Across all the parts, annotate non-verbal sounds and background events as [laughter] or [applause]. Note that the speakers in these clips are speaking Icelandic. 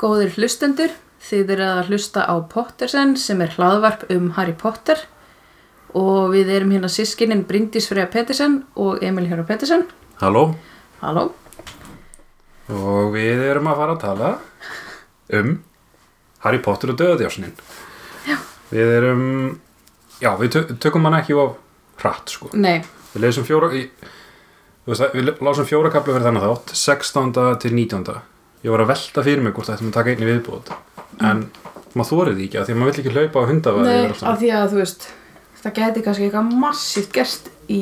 Góðir hlustendur, þið eru að hlusta á Pottersen sem er hlaðvarp um Harry Potter og við erum hérna sískinin Bryndís Freyja Pettersen og Emil Hjóra Pettersen. Halló Halló. og við erum að fara að tala um Harry Potter og döðadjásnin Við erum já, við tö- tökum hann ekki of hratt sko. Nei, Við lesum fjóra í, þú veist, það- við lásum fjóra kapla fyrir þennan þátt 16. til 19. Ég var að velta fyrir mig hvort það ættum að taka einni viðbúð en maður þórið því ekki af því að maður vill ekki hlaupa á hundafa Mm. Nei af því að þú veist, það geti kannski eitthvað massíft gerst í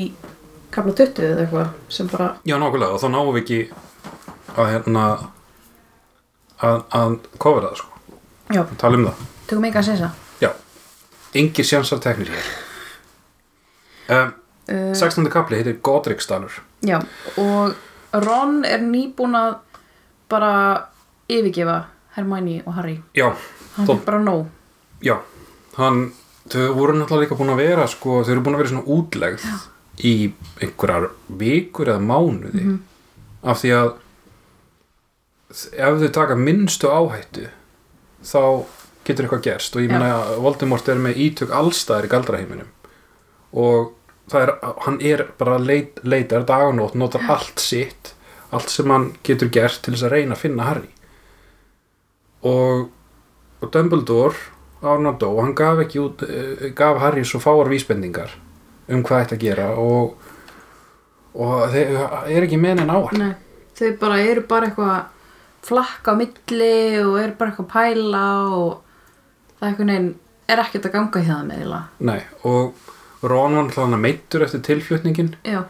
kapla 20 eða eitthvað sem bara, Já, nákvæmlega, og þá náum við ekki að hérna að, að kofra það, sko já, tala um það, tökum eitthvað að segja það. já engir sjansar teknir hér um, Uh, 16. kapli heitir Godriksdalur Já, og Ron er nýbúin að bara yfirgefa Hermione og Harry. Já, Hann Tom. er bara nóg. já hann, þau voru náttúrulega líka búin að vera sko, þau eru búin að vera svona útlegð í einhverjar vikur eða mánuði Mhm. af því að ef þau taka minnstu áhættu þá getur eitthvað gerst og ég Já. meina að Voldemort er með ítök allstaðar í galdraheiminum og það er, hann er bara leit, leitar dag og nótt, notar allt sitt allt sem hann getur gert til þess að reyna að finna Harry og, og Dumbledore án að dó, hann gaf ekki út eh, gaf Harry svo fáar vísbendingar um hvað ætti að gera og, og þeir er ekki með neinn áhætt Nei, þau bara eru bara eitthvað að flakka á milli og eru bara eitthvað að pæla og það er eitthvað neginn, er ekkert að ganga í það með eiginlega. Nei, og Ron var náttúrulega meittur eftir tilflutningin Já,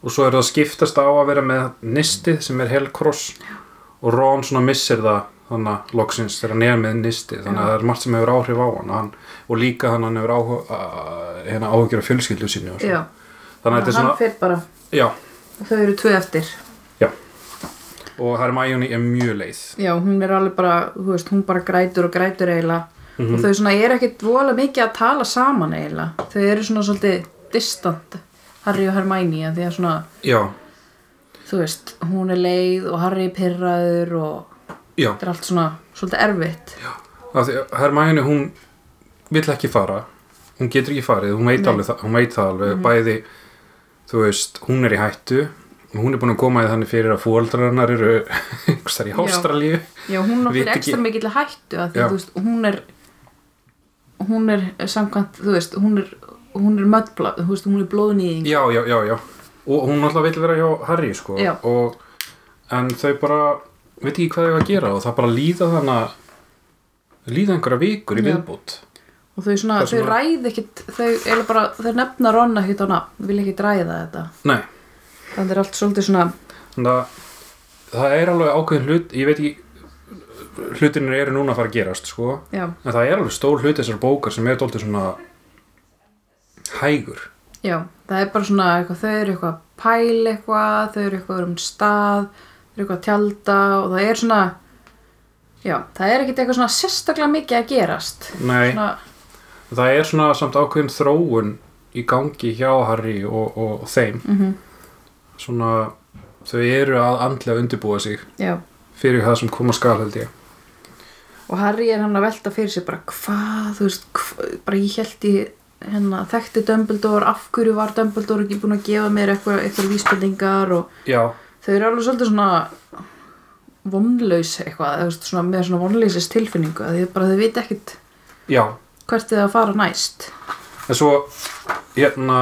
og svo er það að skiptast á að vera með nistið sem er helkross og Ron svona missir það þannig að loksins þegar hann er með nistið þannig að Já. það er margt sem hefur áhrif á hann, hann og líka þannig að hann hefur áhuga, að, hérna, áhugjur af fjölskyldu sinni og já. svona. þannig að þetta er hann svona fer bara, já, þau eru tvö eftir. já. og Hermione er mjög leið Já, hún er alveg bara, þú veist, hún bara grætur og grætur eiginlega Mhm. og þau svona eru ekkert vola mikið að tala saman eiginlega. Þau eru svona svolítið distant, Harry og Hermione, af því að svona, já, þú veist, hún er leið og Harry er pirraður og já, þetta er allt svona svolítið erfitt. af því að Hermione hún vill ekki fara hún getur ekki farið, hún veit, alveg, það- hún veit það alveg Mhm. bæði, þú veist hún er í hættu, hún er búin að koma í þannig fyrir að fóaldrar hennar eru [laughs] einhvers þar í Já. Ástralíu Já, hún er Veit fyrir ekki- ekstra mikill hættu að því, Já. þú veist, hún er hún er samkvæmt, þú veist, hún er hún er möddblad, þú veist, hún er blóðnýðing. já, já, já, já og hún alltaf vill vera hjá Harry sko Já. og, en þau bara veit ekki hvað þau eiga að gera og það bara líða þannig að líða einhverja vikur í Já. viðbútt Og þau svona, Það sem þau að- ræð ekkit, þau, eiginlega bara, þau nefna Ron ekkit á nafn, þau vilja ekkit ræða þetta. nei, Þannig er allt svolítið svona, þannig að það er alveg ákveðin hlut ég veit ekki hlutinir eru núna að fara að gerast sko já, En það er alveg stór hluti þessar bókar sem er dóltið svona hægur. já, það er bara svona eitthvað, þau eru eitthvað að pæla eitthvað, þau eru eitthvað um stað, þau eru eitthvað að tjálta og það er svona, já, það er ekkit eitthvað svona sérstaklega mikið að gerast. Nei, Svona, það er svona samt ákveðin þróun í gangi hjá Harry og, og þeim. mhm, Svona, þau eru að andlega undirbúa sig já. fyrir það sem koma skal held ég. og Harry er hann að velta fyrir sér bara hvað, þú veist, hva, bara ég held í hérna, þekkti Dumbledore af hverju var Dumbledore ekki búin að gefa mér eitthvað, eitthvað vísbendingar og Já, þau eru alveg svolítið svona vonlaus eitthvað, þú veist, svona, með svona vonlausis tilfinningu, því bara þau vita ekkit já. hvert þau á að fara næst En svo, hérna,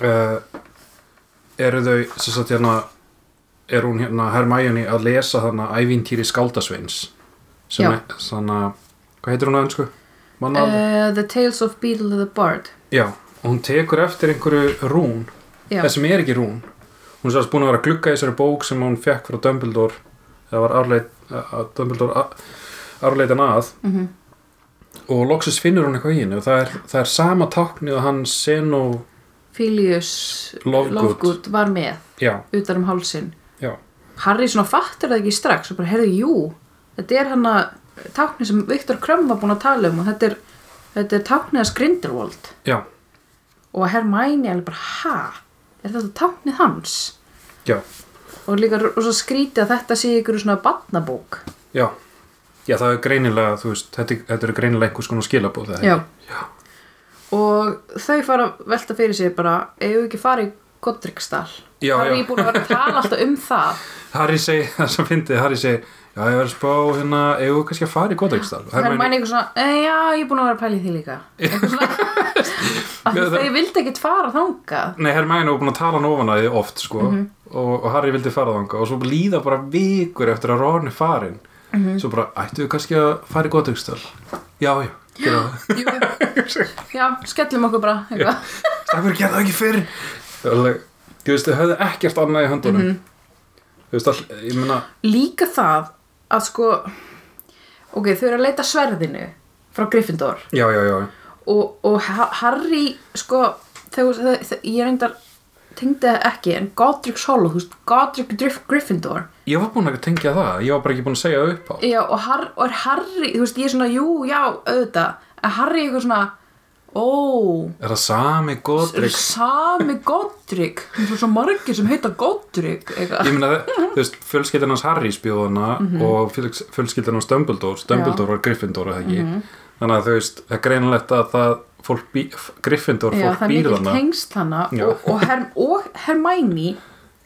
uh, eru þau, sem sagt, hérna, er hún hérna Hermæjunni að lesa þannig ævintýri Skaldasveins. Sem Já. er, þannig hvað heitir hún að önsku? Manna uh, The Tales of Beedle the Bard Já, og hún tekur eftir einhverju rún, Já, það sem er ekki rún. Hún er sérst búin að vera að glugga í þessari bók sem hún fekk frá Dumbledore, það var árleit, eh, að Dumbledore árleitan að mm og loksins finnur hún eitthvað í henni og það er, það er sama táknið að hann sen og Filius Lovegood. Lovegood var með já, utan um hálsin já, Harry svona fattur það ekki strax og bara, heyrðu, jú, þetta er hann að tákni sem Viktor Krömm var búin að tala um og þetta er, þetta er táknið hans Grindelwald já, og Hermæni alveg bara, ha, er þetta táknið hans? já, Og líka, r- og svo skrítið að þetta sé ykkur svona barnabók. já, já það er greinilega þú veist, þetta, þetta eru greinilega einhvers konar skilabóð það er- Já. já, og þau fara að velta fyrir sér bara eigum við ekki að fara í Godrikstall Já, það er já. ég búin að vera að tala alltaf um [laughs] það Harry segir, það sem fyndið, Harry segir já, ég verður spá hérna, eigum við kannski að fara í Godriksdal það er mæni eitthvað svona, "Eh, já, ég er búin að vera að pæla í því [laughs] líka eitthvað svona að Já, það- þau vildi ekkit fara þangað Nei, Hermæni var búin að tala hann ofan að þið oft sko, og, og Harry vildi fara þanga og svo líða bara vikur eftir að Ron er farin svo bara, ættu við kannski að fara í Godriksdal Já, já, gera það [gasps] Jú. já, skellum okkur bara eitthvað. Það verður gerða það ekki fyrr Það er alveg- Þú veist, þau höfðu ekkert annað í höndunum Þú veist, all, ég meina líka það að sko ok, þau eru að leita sverðinu frá Gryffindor Já, já, já, og, og Ha- Harry sko, þegar, þegar, þegar ég reyndar tengdi það ekki, en Godric Solo þú veist, Godric Drif Gryffindor ég var búin að tengja það Ég var bara ekki búin að segja það upp á já, og, har, og er Harry, þú veist, ég er svona jú, já, auðvitað, en Harry er eitthvað svona ó, Er það sami er Godriks sami Godric það er svo- svo margir sem heita Godric Ég eitthvað, meina, þú veist, fjölskyldan hans Harry spjóðana Mhm. mm -hmm. og fjöls- fjölskyldan hans Dumbledore Dumbledore var Gryffindor, eða ekki Mhm. Þannig að þú veist, það er greinilegt að það fólk bí, Gryffindor já, fólk það er býr mikil þarna tengst hana Já. og, og, Herm, og Hermæni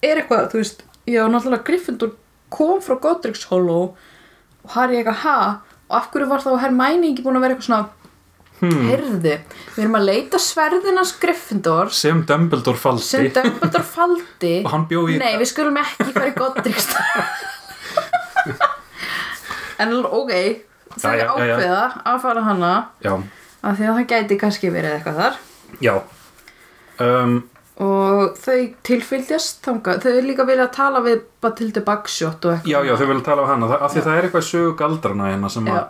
er eitthvað, þú veist, já, náttúrulega Gryffindor kom frá Godrics Hollow og Harry eitthvað, ha og af hverju var þá Hermæni ekki búin að vera eitthvað svona hmm. heyrðu, við erum að leita sverðinans Gryffindors sem Dumbledore faldi sem Dumbledore faldi [laughs] Og hann bjó í- nei, við skulum ekki fara í Godrikst [laughs] en ok þau Jæja, jæja. ákveða að fara hana Já, af því að það gæti kannski verið eitthvað þar já um, og þau tilfylgjast þangað, þau er líka vilja að tala við Batildu Bagshot og Já, eitthvað já, þau vilja tala um hana það, af því það er eitthvað sögu galdrana hérna sem að Já.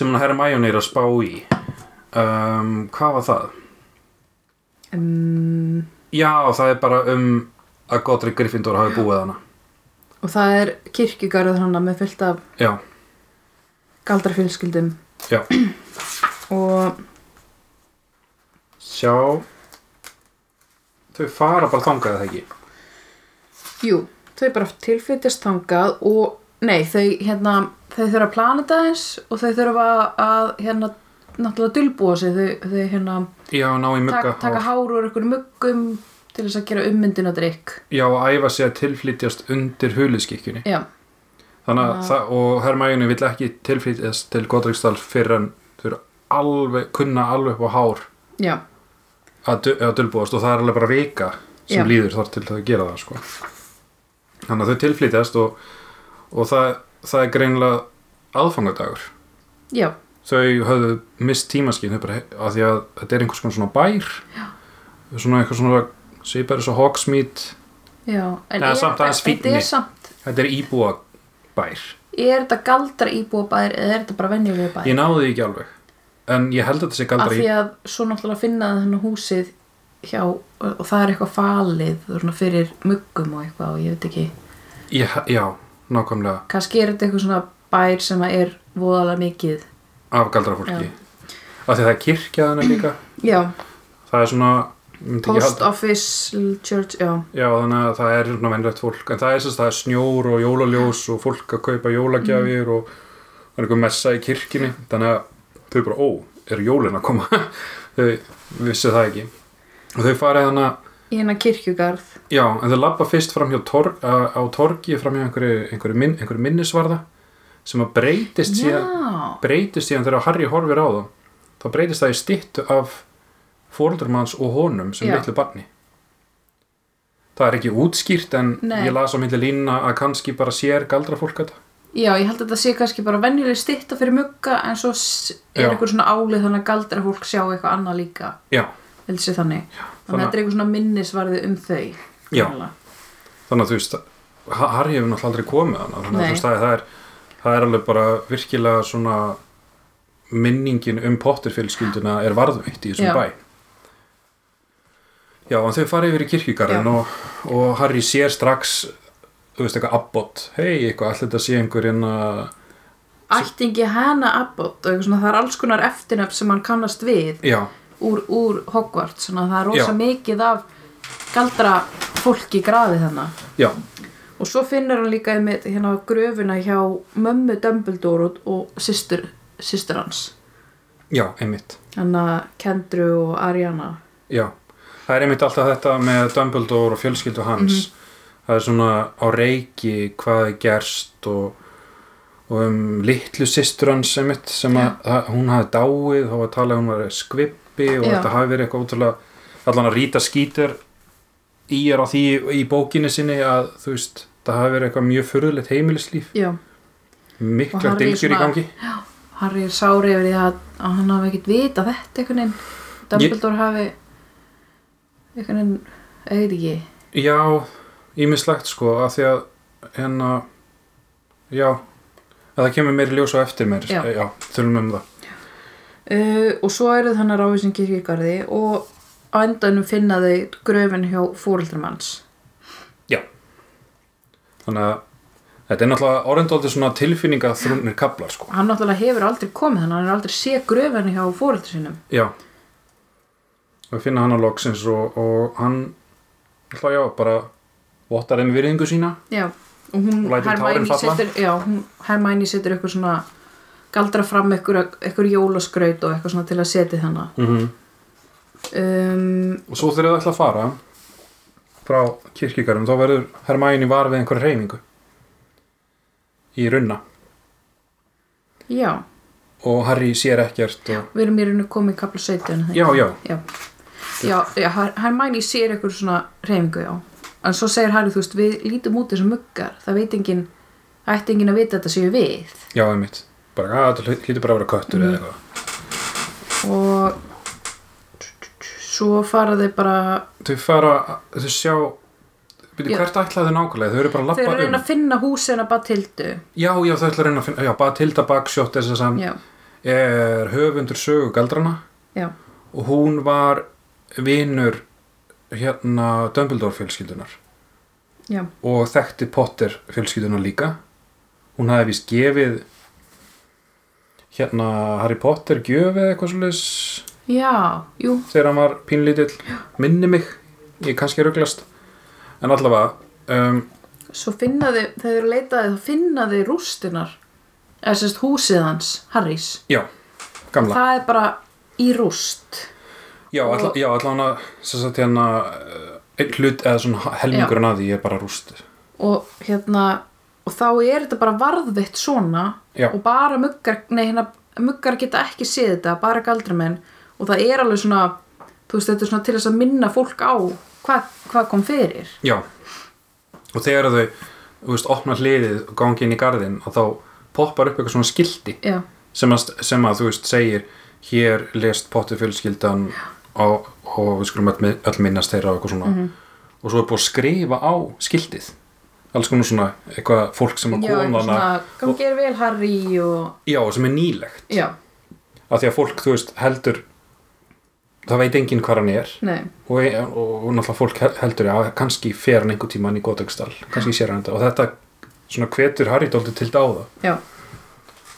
sem hann Hermione er að spá í um, Hvað var það? um, Já, það er bara um að Godric Gryffindor hafi búið hana og það er kirkjugarður hana með fyllt af Já, galdrafjölskyldum já og Sjá Þau fara bara þangað eða ekki jú, þau bara tilfylgjast þangað og nei, þau hérna þau þurfa að plana þetta eins og þau þurfa að hérna náttúrulega dulbúa sig, þau, þau hérna Já, ná í mugga taka, taka hár úr einhverjum muggum til þess að gera ummyndina drikk Já, og æfa sig að tilflytjast undir huliskikkjunni já, Þannig að Já. það, og Hermione vill ekki tilflytjast til Godricstall fyrir en þau eru alveg, kunna alveg upp á hár já, að, du- að dulbúast og það er alveg bara vika sem Já. líður þar til það að gera það sko. þannig að þau tilflytjast og, og það, það er greinilega aðfangadagur já þau höfðu mist tímaskinn þau bara, að því að þetta er einhvers konar svona bær Já. svona eitthvað svona svipar eins og Hogsmeade já, en Eða er samt þetta- aðeins þetta fínni. er samt þetta er íbúa bær Er þetta galdra íbúa bæðir eða er þetta bara venjulegu bæðir? ég náði því ekki alveg en ég held að þetta sé Af galdra því í að svo náttúrulega finnaði þennan húsið hjá og og það er eitthvað falið svona, fyrir muggum og eitthvað og ég veit ekki. ég, já, nákvæmlega Kannski er þetta eitthvað svona bær sem að er voðalega mikið. af galdra fólki af því að það er kirkjaðan líka Já, það er svona ég myndi ekki halda- post office, little church, já. Já, þannig að það er svona vennlegt fólk en það er sérst, það er snjór og jólaljós og fólk að kaupa jólagjafir og það er einhver messa í kirkjunni þannig að þau bara, ó, eru jólin að koma [laughs] þau vissi það ekki og þau farið þannig að Í hennar kirkjugarð. já, en þau labba fyrst fram hjá torg, á, á torgi fram hjá einhverju, einhverju, minn, einhverju minnisvarða sem að breytist síðan Já, breytist síðan þegar Harry horfir á það þá breytist það í stittu af fóreldur manns og honum sem Já. litlu barni það er ekki útskýrt en Nei. ég las á milli línuna að kannski bara sér galdra fólk þetta já, ég held að þetta sé kannski bara venjuleg stytta fyrir mugga en svo s- Já. er eitthvað svona álið þannig að galdra fólk sjá eitthvað annað líka. já, Heldur sér þannig. þannig að þannig að- þetta er eitthvað svona minnisvarði um þau. Já. Þannig. þannig að þú veist Ha- Harry hefur náttúrulega aldrei komið hana þannig að Nei. þú veist það er, það er, það er alveg bara virkilega svona minningin um Potterfjölskylduna er varðveitt í Já. þessum bæ Já, en þau fara yfir í kirkjugarðin Já. og, og Harry sér strax þú veist eitthvað abbott hei, eitthvað, allir þetta sé einhver hérna- en að ættingi hana Abbott og eitthvað svona, það er alls konar eftirnöfn sem hann kannast við já, úr, úr Hogwarts svona, það er rosa Já. mikið af galdra fólki í graði þarna já, og svo finnur hann líka með hérna gröfuna hjá mömmu Dumbledore og- og systur, systur hans já, einmitt hann að Kendru og Ariana já. það er einmitt alltaf þetta með Dumbledore og fjölskyldu hans Mhm. það er svona á reiki hvað er gerst og, og um litlu systur hans einmitt sem að, að hún hafi dáið þá var talað um að hún var skvippi og Já. þetta hafi verið eitthvað ótrúlega allan að Rita skýtur í er á því í bókinni sinni að þú veist, það hafi verið eitthvað mjög furðulegt heimilislíf, já, Og mikla Harry dilgjur í svona- gangi Harry er sári yfir því að, að hann hafi ekkert vita þetta einhvern veginn Dumbledore hafi einhvern veginn, eitthvað ekki Já, ímislegt sko að því að hérna já, að það kemur meiri ljós á eftir mér, Já. já þurfum um það uh, og svo eru þannig ráðisinn kirkirgarði og á endanum finna þau gröfin hjá fóreldrum hans þannig að þetta er náttúrulega orðindóldi svona tilfinninga þrúnir kaplar sko hann náttúrulega hefur aldrei komið þannig að hann er aldrei sé gröfin hjá fóreldur sinum já og finna hann á loksins og, og hann náttúrulega já, bara vottar þeim virðingu sína já, og hún Og lætur tárin Hermæni falla. setur, já, hún, Hermæni setur eitthvað svona galdra fram eitthvað, eitthvað jólaskraut og eitthvað svona til að setja þannig mm -hmm. um, og svo þegar það ætla að fara frá kirkikarum þá verður Hermæni var við einhverja reyfingu í runna já, og Harry sér ekkert og við erum í rauninu komið í kapla 17 er það ekki? Já, já, Já, já, já Her- Hermione sér eitthvað svona reyfingu, já. En svo segir Harry, þú veist, við lítum út þessum muggar, það veit enginn, það ætti enginn að vita þetta séu við. já, einmitt bara, að þetta hlý- hlýtur bara að vera köttur Mhm. eða eitthvað Og svo fara þau bara, þau fara, þau sjá byrju, Já. hvert ætlaði þau nákvæmlega, þau eru bara að þau eru labba að um reyna að finna húsin að Batildu. já, já, þau ætlaði að reyna að finna, já, Batilda Baksjótt þess að Já, er höfundur sögu galdrana já, og hún var vinur hérna Dumbledore fjölskyldunar já, og þekkti Potter fjölskyldunar líka hún hafði vist gefið hérna Harry Potter gjöfið eitthvað svoleiðis já, jú, þegar hann var pínlítill minni mig, ég er kannski rugglast en allavega um, svo finna þau, þegar þau eru leitaði, þá finna þau rústinar, eða sérst húsið hans, Harrys. já, gamla Það er bara í rúst. já, alla, já, allan að sem sagt hérna eh, einn hlut eða svona helmingurinn að því ég er bara rúst og hérna og þá er þetta bara varðvitt svona Já. og bara muggar, nei hérna muggar geta ekki séð þetta, bara galdramenn og það er alveg svona þú veist þetta er svona til þess að minna fólk á hvað, hvað kom fyrir já, og þegar þau þú veist, opna hliðið og gangi inn í garðin og þá poppar upp eitthvað svona skildi já, sem að, sem að þú veist segir hér lest Potter fjölskyldan og, og við skulum öll, öll minnast þeirra og eitthvað svona Mhm. og svo er búið að skrifa á skiltið alls konar svona eitthvað fólk sem er já eitthvað konana svona, gangi er vel Harry og já, sem er nýlegt já, af því að fólk, þú veist, heldur það veit enginn hvar hann er nei, og, og, og náttúrulega fólk hel- heldur já, kannski fer hann einhver tíma hann í Godagstall kannski sér hann þetta og þetta svona hvetur Harry dóldi til dáða já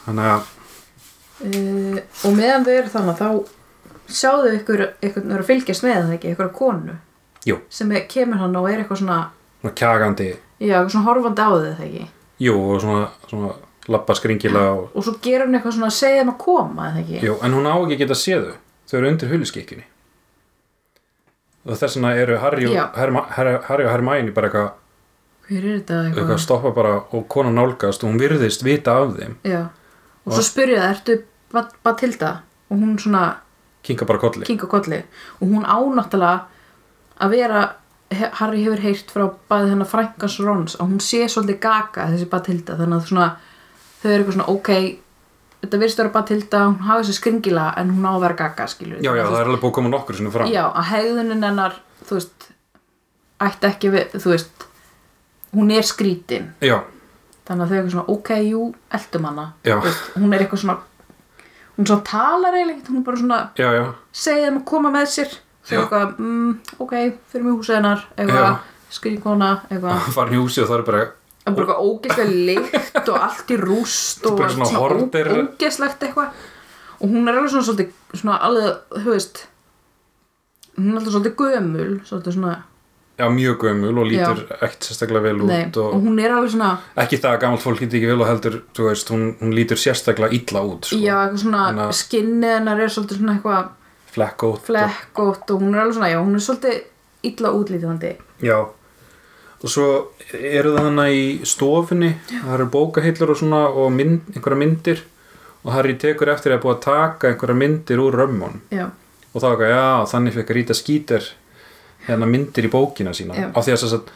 þannig að, uh, og meðan þau eru þannig þá sjáðu ykkur, ykkur að fylgjast með það ekki, ykkur konu jú, sem er, kemur hann og er eitthvað svona svona kjagandi já, eitthvað svona horfandi á þau það ekki jú, og svona, svona labba skringila og og svo gerur hann eitthvað svona að segja þeim að koma eða ekki? Jú, en hún á ekki að geta séð þau þau eru undir huliskikjunni og þess vegna eru Harry og, Já. Herma, Harry, Harry og Hermæni bara eitthvað, hver er þetta eitthvað eitthvað, stoppa bara og konan nálgast og hún virðist vita af þeim já og svo spyrja það, ertu Bat- Batilda og hún svona kinka bara kolli kinga kolli og hún ánáttúrulega að vera he- Harry hefur heyrt frá bæði hennar frænkans Rons að hún sé svolítið gaga þessi Batilda þannig að svona, þau eru eitthvað svona ok þetta virðist vera Batilda, hún hafi þessi skringila en hún á að vera gaga skilur við. Já, já, Þú það er alveg búið að koma nokkur sinni fram Já, að hegðunin hennar, þú veist, ætti ekki við, þú veist, hún er skrítin. já, Þannig að þau eru svona, ok, jú, eldum hana. Já. Þú Veist, hún er eitthvað svona, hún svona talar eiginlega, ekkert, hún er bara svona, já, já, segið þeim að koma með sér. Þau Já. eru eitthvað, mm, ok, fyrir mig húsið hennar, Já. Ah. eitthvað, skrýkona, eitthvað. farin í húsi og það er bara Það er bara eitthvað ógeðslega lykt og allt í rúst og Bara allt svona horter. ó- ógeðslegt eitthvað. Og hún er alveg svona svolítið, svona alveg, þú veist, hún er alltaf svolítið gömul, svolítið svona já, mjög gömul og lítur ekkert sérstaklega vel út Nei, og og hún er alveg svona ekki það að gamalt fólk lítur ekki vel og heldur, þú veist, hún, hún lítur sérstaklega illa út, sko, já, eitthvað Þannig svona að- skinnið hennar er svolítið svona eitthvað flekkótt og- flekkótt og hún er alveg svona, já, hún er svolítið illa útlítandi Já, og svo eru það hana í stofunni, það eru bókahillur og svona og mynd, einhverja myndir og Harry tekur eftir að búa að taka einhverja myndir úr römmun já, og þá ekki, já, þannig fekk Rita Skeeter hérna myndir í bókina sína Já. á því að þess að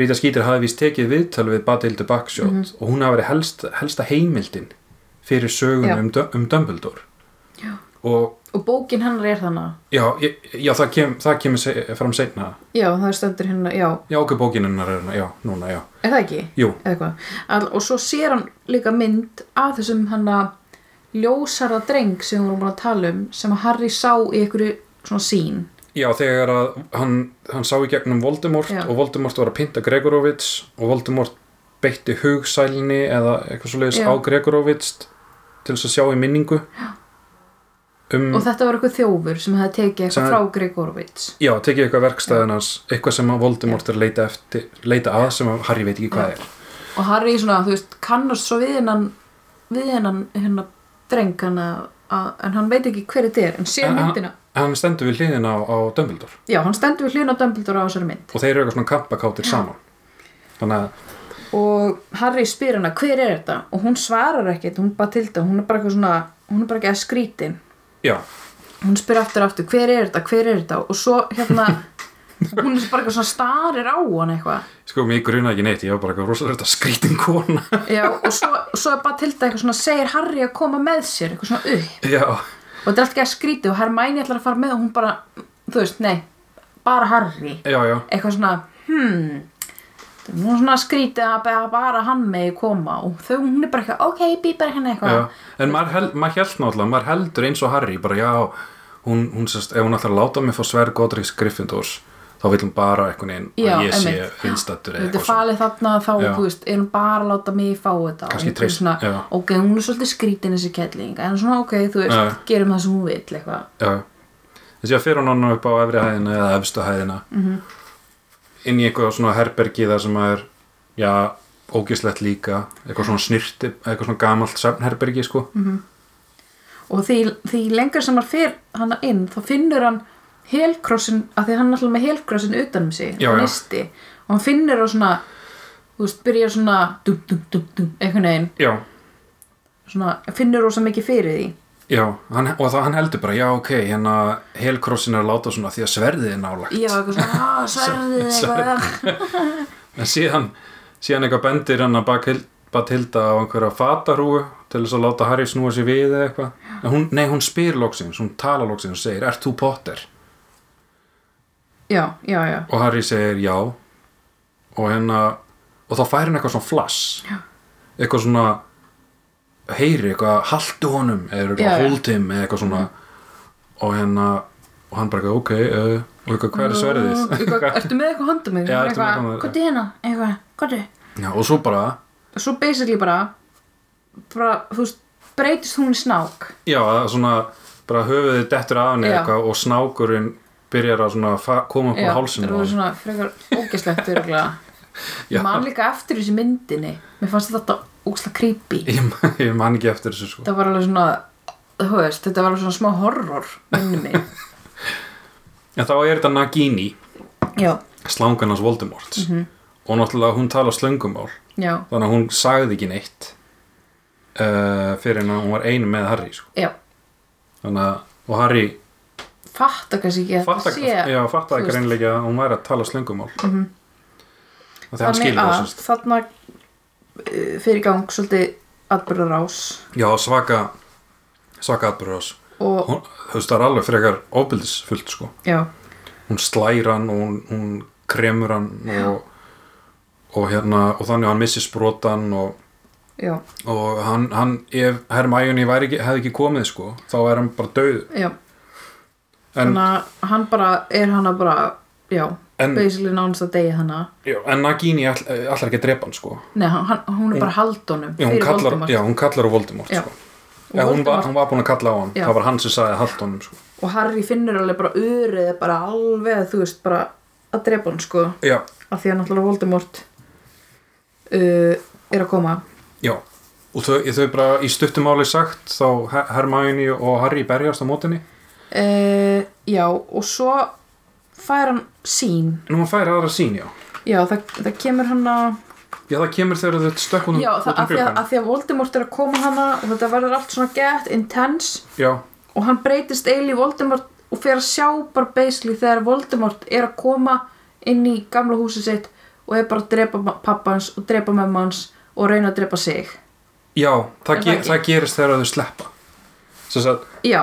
Rita Skeeter hafi víst tekið viðtöl við Badildu Backshot Mhm. og hún hafi verið helst, helsta heimildin fyrir söguna Já. um, Dum- um Dumbledore Já. og og bókin hennar er þannig já, ég- já það, kem, það kemur se- fram seinna já, það stendur hérna, já, já, okkur bókininnar er hérna, já, núna, já er það ekki? jú, eða eitthvað, All- og svo sér hann líka mynd af þessum hann að ljósara dreng sem hún var búin að tala um sem að Harry sá í einhverju svona sín Já, þegar að hann, hann sá í gegnum Voldemort Já. og Voldemort var að pynta Gregorovits og Voldemort beitti hugsælni eða eitthvað svo leiðis Já. á Gregorovits til þess að sjá í minningu um, og þetta var eitthvað þjófur sem hefði tekið Sem- eitthvað frá Gregorovits já, tekið eitthvað verkstæðin hans eitthvað sem að Voldemort er að leita, eftir, leita að sem að Harry veit ekki hvað Já. er og Harry svona, þú veist, kannast svo við hennan við hennan hérna dreng hann að, að, en hann veit ekki hver þetta er en sér En hann- myndina, Hann stendur við hliðin á, á Dumbledore já, hann stendur við hlýna Dumbledore á þessari mynd og þeir eru eitthvað svona kampakátir saman þannig að, og Harry spyr hana hver er þetta og hún svarar ekkert, hún bara til þetta hún er bara eitthvað svona, hún er bara ekki að skrítin já, hún spyr aftur og aftur, hver er þetta, hver er þetta og svo hérna hún er bara eitthvað svona starir á hann eitthvað sko, mér gruna ekki neitt ég var bara eitthvað rosalega skrítin kona [laughs] já, og svo, svo er bara til þetta eitthvað svona segir Harry að koma með sér, eitthvað svona upp Já, og þetta er allt ekki að skrítið og Hermæni ætlar að fara með og hún bara, þú veist, nei bara Harry, já, já eitthvað svona hmm þetta er nú svona skrítið að bara- bara hann megi koma og þau, hún er bara eitthvað, ok, býpar henni eitthvað Já, en maður, hel, maður held náttúrulega, maður heldur eins og Harry, bara já, hún, hún sérst, ef hún ætlar að láta mig fá sverg Godriks Gryffindors, þá vil hún bara einhvern veginn Já, að ég sé einmitt. vinstattur eða Þetta er eitthvað svona. falið þarna þá, Já. þú veist, er hún bara að láta mig fá þetta og Kannski hún er treyst- svona, já. ok, hún er svolítið skrítin þessi kettling, en svona, ok, þú veist, Já. gerum það sem hún vill, eitthvað Já, þessi að fyrir hún hann upp á efri hæðina eða efstu hæðina, Mhm. -hmm. inn í eitthvað svona herbergi þar sem maður, já, ógislegt líka, eitthvað svona snirti, eitthvað svona gamalt safnherbergi, sko. Mhm. og því, því lengur sem hann fer hana inn, þá finnur hann helkrossin, af því hann er alltaf með helkrossin utan um sig, Já, já. nisti og hann finnur á svona, þú veist, byrjar svona dum, dum, dum, dum, einhvern veginn Já, svona, finnur rosa mikið fyrir því já, hann, og það hann heldur bara, já, ok, hérna helkrossin er að láta svona því að sverðið er nálægt. já, eitthvað svona, "Ah, sverðið eitthvað ah." En síðan, síðan eitthvað bendir hann að Bathil- Bathilda á einhverja fatarúu til þess að láta Harry snúa sér við eða eitthvað. En Hún, nei, hún spyr loksins, hún talar loksins og segir, ert þú Potter? já, já, já, Og Harry segir, já. Og, hérna, og þá fær hann eitthvað svona flass. Já. Eitthvað svona, heyri eitthvað, haltu honum, eða Já, eitthvað já. hold him, eða eitthvað svona. Og hérna, og hann bara eitthvað, ok, uh, og eitthvað, hvað er sverðið? Mm, Eitthvað, ertu með eitthvað handa mig? Já, ertu eitthvað með eitthvað handa- Kottu hérna, eitthvað, kottu Já, og svo bara, Svo basically bara, bara þú veist, breytist hún í snák Já, það er svona bara höfuðið dettur af henni Já. eitthvað og snákurinn byrjar að svona fa- koma upp á það hálsinn á var henni. svona frekar ógæslegt örgulega [laughs] Já. Ég man líka eftir þessu myndinni Mér fannst þetta ógæslega creepy Ég, man- ég man ekki eftir þessu sko. Það var alveg svona, þú veist, þetta var alveg svona smá horror minni mig [laughs] En þá er þetta Nagini, Já, slangan hans Voldemorts Mhm. og náttúrulega hún talar slöngumál já, þannig að hún sagði ekki neitt uh, fyrir en að hún var einu með Harry sko. já þannig að og Harry Fatta kannski ekki að fattar þetta sé já, fattar þú veist. ekki Mhm. reynilega að hún væri að tala slöngumál mm -hmm. og þegar hann Þannig skilur að það sem sagt. þarna uh, fyrir gang svolítið atbyrðarás já, svaka svaka atbyrður ás og, hún, þú veist, það er alveg frekar óbildisfullt sko já hún slær hann og hún, hún kremur hann og, og hérna og þannig að hann missi sprotan og, Já, og hann, hann ef Hermæjunni ekki, hefði ekki komið sko þá er hann bara döð já, en, þannig að hann bara, er hann að bara, já, En- basically nánast að degi hana. já, en Nagini all, allar ekki að drepa hann sko Nei, hann, hann- hún er bara haldunum já, hún, fyrir kallar, Voldemort. já, hún kallar á Voldemort Já. sko. Og já, hún, var, Voldemort- hún var búin að kalla á hann Já. það var hann sem sagði haldunum sko. Og Harry finnur alveg bara urið, bara alveg, þú veist, bara að drepa hann sko já, af því að náttúrulega Voldemort uh, er að koma já og þau, þau bara í stuttumáli sagt þá Her- Hermione og Harry berjast á mótinni uh, já og svo fær hann sín nú hann fær aðra sín, já já það, það kemur hann að já, það kemur þegar þau stökk út um já það af því að, gluggan af því að Voldemort er að koma hana og þetta verður allt svona gett intense já, og hann breytist eiginlega í Voldemort og fer að sjá bara basically þegar Voldemort er að koma inn í gamla húsið sitt og er bara að drepa ma- pabba hans og drepa mamma hans og reyna að drepa sig já það, Er ge það ekki? það gerist þegar þau sleppa þess að já,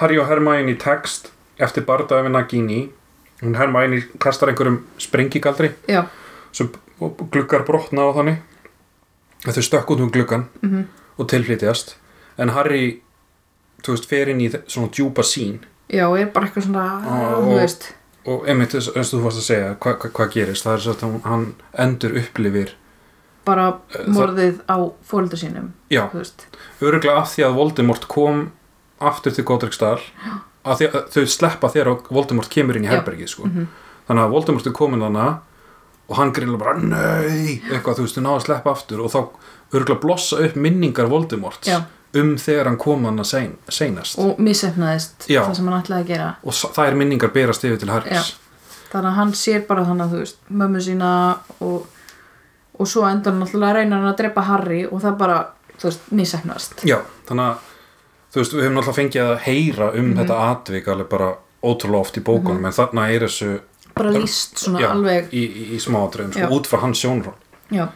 Harry og Hermione tekst eftir bardaði við Nagini hún Hermione kastar einhverjum sprengigaldri já, sem og gluggar brotna á þannig að þau stökk út um gluggan Mhm. og tilflýtiðast en Harry þú veist, fer inn í þe- svona djúpa sín já og er bara eitthvað svona Ah, þú og- veist, og einmitt þess eins og þú varst að segja hvað hva, hva gerist, það er svo að hún- hann endur upplifir bara Eh, morðið á fólöldu sínum já, þú veist, öruglega af því að Voldemort kom aftur til Godriksdal af því að þau sleppa þegar og Voldemort kemur inn í Já. Mhm. herbergið sko. þannig að Voldemort er komin þannig og hann grilla bara ney eitthvað þú veist, þau náðu að sleppa aftur og þá öruglega blossa upp minningar Voldemorts já, um þegar hann kom hann að sein, seinast og, og misefnaðist Já. það sem hann ætlaði að gera s- þær minningar berast yfir til Harrys þannig að hann sér bara þannig að þú veist mömmu sína og, og svo endur hann alltaf að reyna hann að drepa Harry og það bara, þú veist, misefnaðist já, þannig að þú veist, við höfum náttúrulega fengið að heyra um Mhm. þetta atvik alveg bara ótrúlega oft í bókunum en þarna er þessu bara líst Mhm. svona já, alveg í, í, í smáatriðum sko, Já. út frá hans sjónrón já,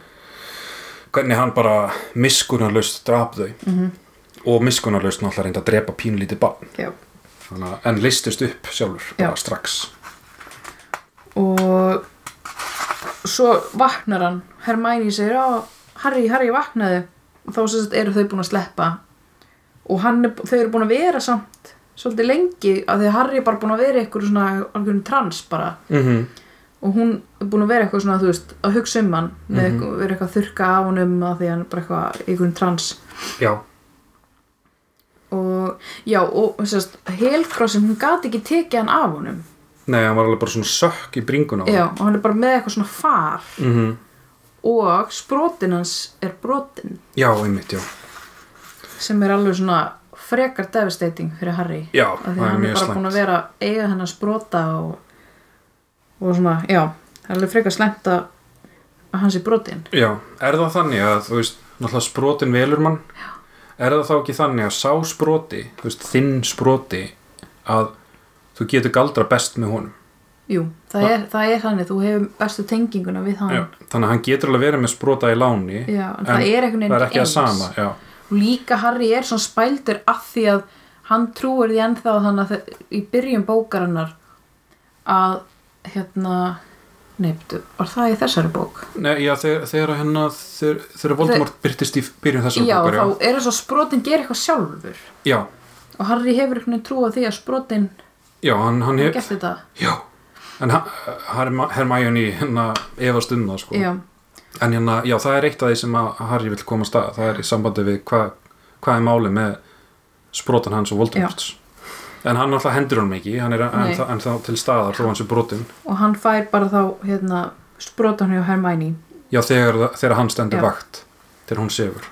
hvernig, hvernig hann bara miskunarlaust drap þau Mhm. og miskunarlaust náttúrulega reynda að drepa pínlítið barn já. þannig, að- en listist upp sjálfur Já. bara strax og svo vaknar hann Hermæni segir, já, Harry, Harry vaknaði og þá sem sagt eru þau búin að sleppa og hann er, þau eru búin að vera samt svolítið lengi að því að Harry er bara búin að vera ykkur svona algjörn trans bara mm -hmm. og hún er búin að vera eitthvað svona, þú veist, að hugsa um hann Mhm. mm eitthvað, vera eitthvað að þurrka af honum að því að hann er bara eitthvað, einhvern trans já, og já, og sérst, helgrásin, hún gati ekki tekið hann af honum nei, hann var alveg bara svona sökk í bringun á já, og hann er bara með eitthvað svona far mm og sprotin hans er brotin já, einmitt, já sem er alveg svona frekar devastating fyrir Harry Já, af því það að er hann er mjög bara búin slæmt að vera að eiga hennar sprota og, og svona, já það er alveg frekar slæmt að að hans er brotin Já, er það þannig að þú veist, náttúrulega sprotin velur mann Já. er það þá ekki þannig að sá sproti þú veist, þinn sproti að þú getur galdra best með honum jú, það Það- er, það er þannig, þú hefur bestu tenginguna við hann Já, þannig að hann getur alveg verið með sprota í láni Já, en, En það er einhvern veginn það er ekki að eins. sama Já, Og líka Harry er svona spældur af því að hann trúir því ennþá þannig að þe- í byrjun bókarinnar að hérna nefndu, var það í þessari bók? Nei, já þegar, þegar að hennar þegar, þegar Voldemort byrtist í byrjun þessar já, bókar þá er þess að sprotin gera eitthvað sjálfur já, og Harry hefur einhvern veginn trú á því að sprotin já, hann, hann hef, gert þetta Já, en ha- Herma- Hermione hérna efast um það sko já, En hérna, já, það er eitt af því sem að Harry vil koma að stað, það er í sambandi við hvað hva er málið með sprotan hans og Voldemorts. En hann alltaf hendur honum ekki, hann er Nei. en, en þá til staðar þó hans er brotin. og hann fær bara þá hérna, sprotan hjá Hermæni Já, þegar, það- þegar hann stendur Já. vakt, þegar hún sefur.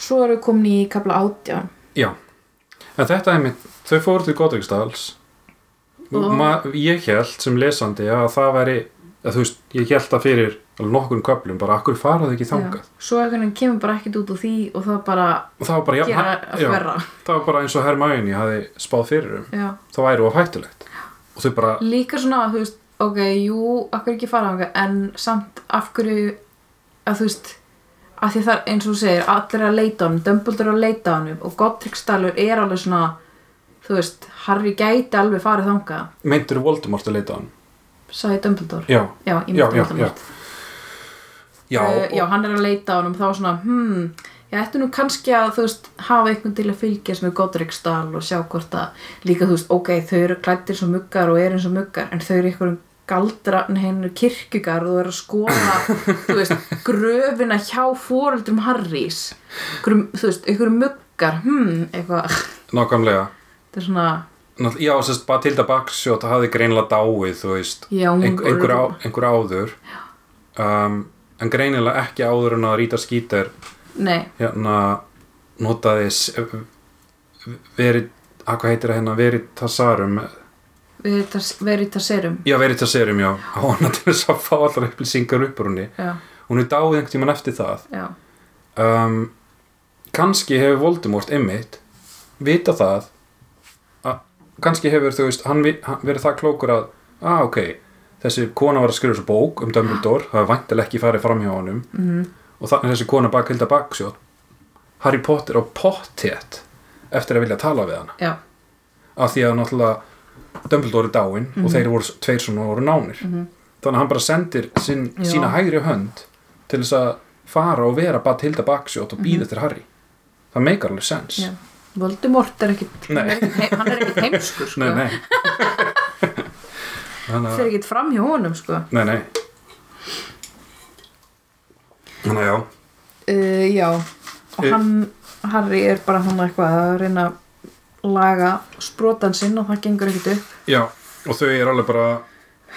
svo eru við komin í kapla átján Já, en þetta er mitt, þau fóru til Godriksdals. Og- Ma, ég held sem lesandi að það væri, að þú veist, ég held það fyrir alveg nokkrum köflum, bara akkur faraðu ekki já. þangað. svo einhvern veginn kemur bara ekkert út úr því og það bara Og það var bara, gera já, að já, verra það var bara eins og Hermione hafi spáð fyrir um. já. það væri of hættulegt og þau bara, líka svona, þú veist, ok, jú akkur ekki fara þangað, en samt af hverju, að þú veist að því það er eins og þú segir, allir eru að leita á hann Dumbledore er að leita á hann og Godricstallur er alveg svona þú veist, Harry gæti alveg farið þangað meintur Voldemort að leita á hann sagði Dumbledore já, já, ég já, myndi já, já Voldemort. já, uh, já, og, hann er að leita á hann og þá svona, hmm ég ætti nú kannski að, þú veist, hafa einhvern til að fylgjast með Godricstall og sjá hvort að líka, þú veist, ok, þau eru klættir svo muggar og eru eins og muggar, en þau eru einhverjum galdra, hennu kirkjugar og eru að [laughs] skoða, þú veist, gröfina hjá fóreldrum Harrys einhverjum, þú veist, einhverjum muggar hmm, eitthvað, nákvæmlega þetta er svona náttúrulega- já, sérst, Batilda Baksjót hafði greinlega dáið, þú veist Já, hún einhver, var- einhver, á, einhver áður um, en greinilega ekki áður en að Rita Skeeter Nei, hérna notaði s- verið, að hvað heitir það hérna veritasarum, Veritas- Veritaserum já veritaserum já, á hana til þess að fá allar upplýsingar upp úr henni, Já, hún er dáið einhvern tímann eftir það já, um, kannski hefur Voldemort einmitt vita það að kannski hefur þú veist, hann, vi- hann verið það klókur að ah ok, þessi kona var að skrifa þessu bók um Dumbledore, það er væntilega ekki farið fram hjá honum mhm, og þannig er þessi kona bakhilda baksjótt Harry Potter á pottet eftir að vilja tala við hana já, af því að náttúrulega Dumbledore er dáinn og þeir voru tveir svona voru nánir mhm, þannig að hann bara sendir sin, Já. sína hægri hönd til þess að fara og vera Bathilda baksjótt og býða til Harry það meikar alveg sens Mhm. já Voldemort er ekkit Nei. hann er ekkit heim- Hann er ekkit heimskur sko. nei, nei [laughs] þannig Fyrir að ekkit fram hjá honum sko. nei, nei þannig að já uh, Já, og Eh. hann Harry er bara hann eitthvað að reyna að laga sprotan sinn og það gengur ekkit upp já, og þau eru alveg bara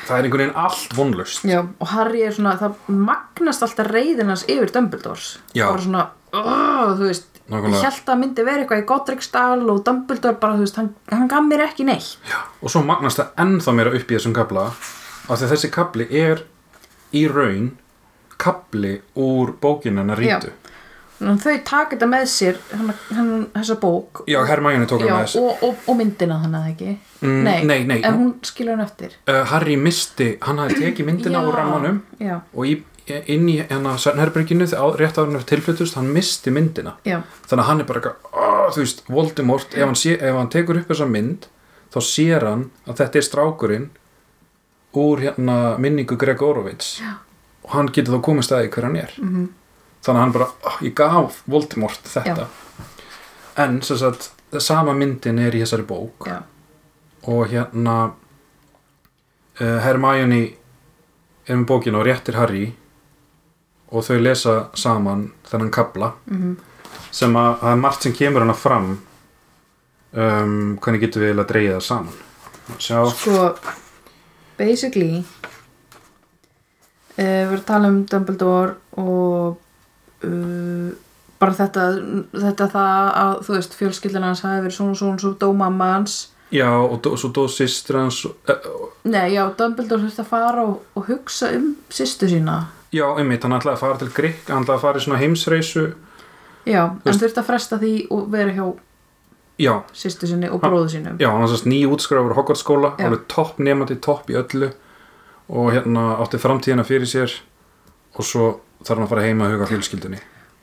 það er einhvern veginn allt vonlust Já, og Harry er svona, það magnast alltaf reyðin hans yfir Dumbledores Já. bara svona, oh, þú veist Nákvæmlega. ég held að myndi vera eitthvað í Godriksdal og Dumbledore bara, þú veist, hann, hann gaf mér ekki neitt og svo magnast það ennþá meira upp í þessum kabla af því að þessi kabli er í raun kabli úr bókinu hennar rítu Þannig að þau taka þetta með sér hann, hann, þessa bók já, Hermæjunni tók Já, hann með þessu og, og, og myndina þannig að ekki Mm, nei, nei. en hún skilur hann eftir uh, Harry misti, hann hafði tekið myndina Já, úr rammanum Já, og í, inn í hennar Sörnherberginu rétt af hennar tilflutust, hann misti myndina já, þannig að hann er bara eitthvað, "Ah," þú veist, Voldemort ef hann, sé, ef hann tekur upp þessa mynd þá sér hann að þetta er strákurinn úr hérna minningu Greg Orovits Já. og hann getur þá komið staði hver hann er -hmm. þannig að hann bara, oh, ég gaf Voldemort þetta en sem sagt, sama myndin er í þessari bók já, og hérna uh, Hermione er með bókina og réttir Harry og þau lesa saman þennan kabla mhm, sem að það er margt sem kemur hana fram um, hvernig getum við eiginlega að dreyja það saman sjá, sko basically uh, við erum að tala um Dumbledore og uh, bara þetta þetta það að þú veist fjölskyldan hans hafi verið svona svona svo dó mamma hans já og dó, svo dó sýstir hans eh, nei já Dumbledore þurfti að fara og, og hugsa um sýstu sína já, einmitt, hann ætlaði að fara til Grikk hann ætlaði að fara í svona heimsreisu já en veist- þurfti að fresta því og vera hjá já, sýstu sinni og bróðu sínum já, hann var sérst ný útskrafur Hogwarts skóla, Já. alveg topp nefandi topp í öllu og hérna átti framtíðina fyrir sér og svo þarf hann að fara heima að huga fjölskyldunni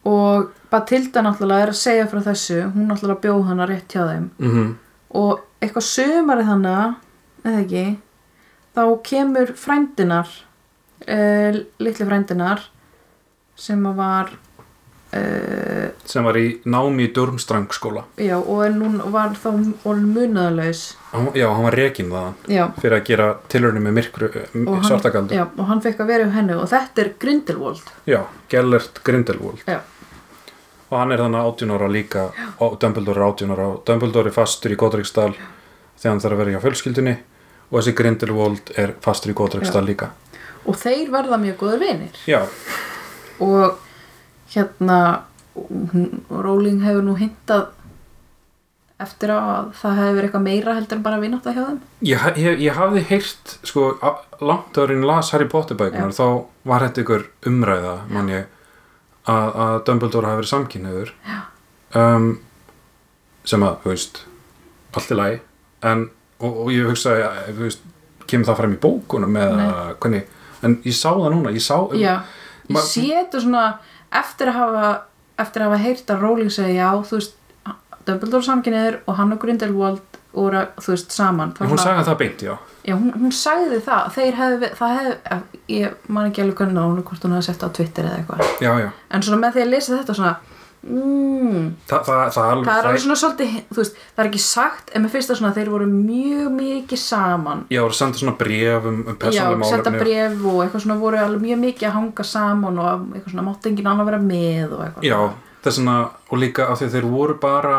og Batilda náttúrulega er að segja frá þessu hún náttúrulega bjóð hana rétt hjá þeim mm og eitthvað sömarið hana eða ekki þá kemur frændinar uh, litli frændinar sem að var uh, sem var í námi í Durmstrang skóla já og er núna var þá orðin munaðalaus já, hann var rekinn þaðan já fyrir að gera tilhörnum með myrkru og hann, svartakaldu já, og hann fekk að vera hjá henni og þetta er Grindelwald Já, Gellert Grindelwald já, og hann er þannig 18 ára líka og Dumbledore er 18 ára og Dumbledore er fastur í Godriksdal þegar hann þarf að vera hjá fjölskyldunni og þessi Grindelwald er fastur í Godriksdal líka og þeir verða mjög góður vinir Já, og hérna hún- Rowling hefur nú hintað eftir að það hefur verið eitthvað meira heldur en bara vinátt hjá þeim ég, ha- ég, ég hafði heyrt sko, a- langt árin las Harry Potter bækunar þá var þetta ykkur umræða mann ég að, að Dumbledore hafi verið samkynniður um, sem að, þú veist allt í lagi en, og, og ég hugsaði að, þú veist kemur það fram í bókunum eða hvernig, en ég sá það núna ég sá, um- já, ég Ma- sé þetta svona eftir að hafa eftir að hafa heyrt að Rowling segja já, þú veist, Dumbledore samkynniður og hann og Grindelwald voru, þú veist, saman Það var hún svona- sagði það beint, já Já, hún, hún sagði það, þeir hefði, það hefði, ég man ekki alveg hvernig hún, hvort hún hefði sett það á Twitter eða eitthvað. já, já, En svona með því að lesa þetta svona, mmm, Þa, það, það, alveg- það er alveg svona svolítið, þú veist, það er ekki sagt, en mér finnst það svona að þeir voru mjög mikið saman. já, voru að senda svona bref um, um Já, persónuleg senda málefni bref og eitthvað svona voru alveg mjög mikið að hanga saman og eitthvað svona mátti enginn annar vera með og eitthvað. Já, þess vegna og líka af því að þeir voru bara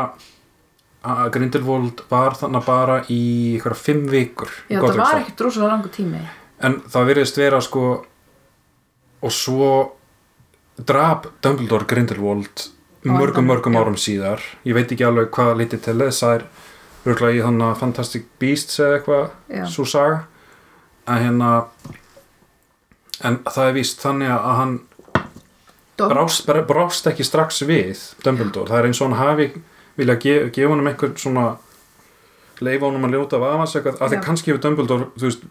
að Grindelwald var þannig bara í einhverja fimm vikur í Já, það var Godric's ekkert rosalega langur tími. en það virðist vera sko og svo drap Dumbledore Grindelwald mörgum endanum, mörgum já. árum síðar ég veit ekki alveg hvað lítið til þess það er röglega í þannig að Fantastic Beasts eða Já. eitthvað svo saga að hérna en það er víst þannig að hann Dó- brást, brást ekki strax við Dumbledore, það er eins og hann hafi vilja ge gefa honum einhvern svona leifa honum að ljóta af afans eitthvað, af því Já. kannski hefur Dumbledore þú veist,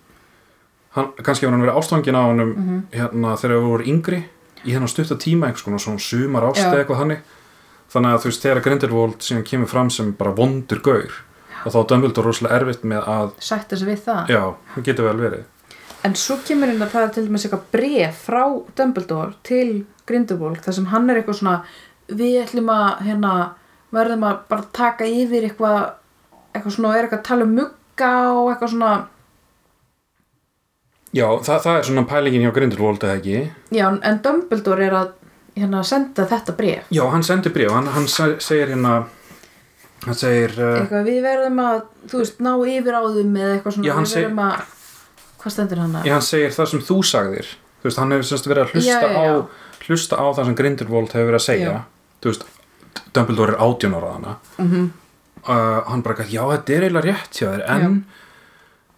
hann, kannski hefur hann verið ástangin á honum Mhm. hérna þegar við voru yngri í þennan stutta tíma einhvers konar svona sumar ást Já. eða eitthvað þannig þannig að þú veist, þegar Grindelwald síðan kemur fram sem bara vondur gaur og þá er Dumbledore rosalega erfitt með að Sætta sig við það. já, það getur vel verið En svo kemur inn að það er til dæmis eitthvað bref frá Dumbledore til Grindelwald þar sem hann er eitthvað svona við ætlum að hérna verðum að bara taka yfir eitthvað eitthvað svona og er eitthvað að tala um mugga og eitthvað svona já, það, það er svona pælingin hjá Grindelwald eða ekki já en- en Dumbledore er að hérna senda þetta bref Já, hann sendir bréf, hann, hann se- segir hérna hann segir uh, eitthvað við verðum að þú veist ná yfir á þum eða eitthvað svona Já, hann við seg- verðum að hvað stendur hann að já, hann segir það sem þú sagðir þú veist, hann hefur semst verið að Já, hlusta já, já. á hlusta á það sem Grindelwald hefur verið að segja Já. þú veist, Dumbledore er átjón ára hana mm Mhm. -hmm. uh, hann bara gæti, já, þetta er eiginlega rétt hjá þér en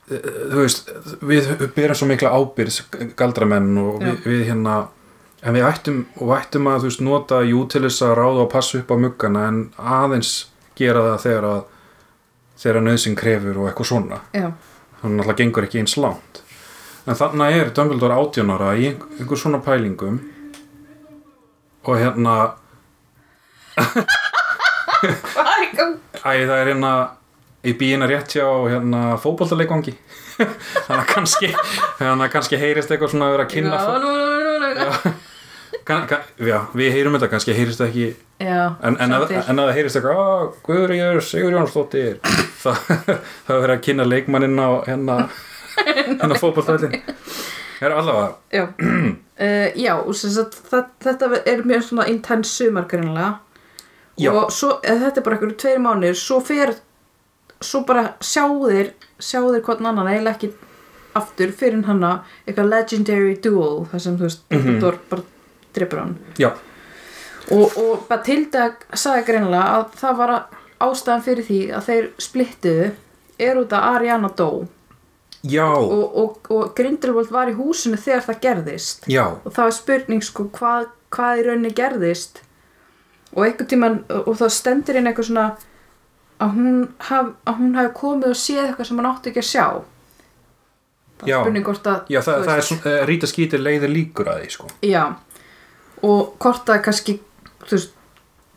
uh, þú veist, við byrjum svo mikla ábyrðs galdramenn og við, við hérna en við ættum, og ættum að þú veist, nota jú til þess að ráða og passa upp á muggana en aðeins gera það þegar að þegar að nöðsinn krefur og eitthvað svona já, þannig náttúrulega gengur ekki eins langt en þannig er Dumbledore 18 ára í ein- einhver svona pælingum og hérna Hvað er í gangi? æ, það er hérna í bíina rétt hjá hérna fótboltaleikvangi [laughs] þannig að kannski þannig að kannski heyrist eitthvað svona að vera að kynna Já, fó- nú, nú, nú, nú, nú. kann, kann, já, við heyrum þetta kannski heyrist það ekki já, en, en, að, samtidig. en að það heyrist eitthvað "Á, Guðríður Sigurjónsdóttir [laughs] það það er verið að kynna leikmanninn á [laughs] hérna hérna fótboltallin það er allavega Já, [clears throat] uh, já og sem sagt, það, þetta er mjög svona intense sumar greinlega Já. og svo, eða þetta er bara einhverju tveir mánuðir svo fer, svo bara sjáðir sjáðir hvort annan eiginlega ekki aftur fyrir hana eitthvað legendary duel það sem þú veist, Dumbledore bara drefur hann já, og, og Batilda sagði greinlega að það var að- ástæðan fyrir því að þeir splittuðu er út að Ariana dó já, og, og, og Grindelwald var í húsinu þegar það gerðist já og það var spurning sko hvað, hvað í rauninni gerðist og einhvern tímann og þá stendur inn eitthvað svona að hún, haf, að hún hafi komið og séð eitthvað sem hann átti ekki að sjá það Já. er spurning hvort að já, það, þú það er veist, svona, uh, Rita skýtir leiðir líkur að því sko. já, og hvort að kannski þú veist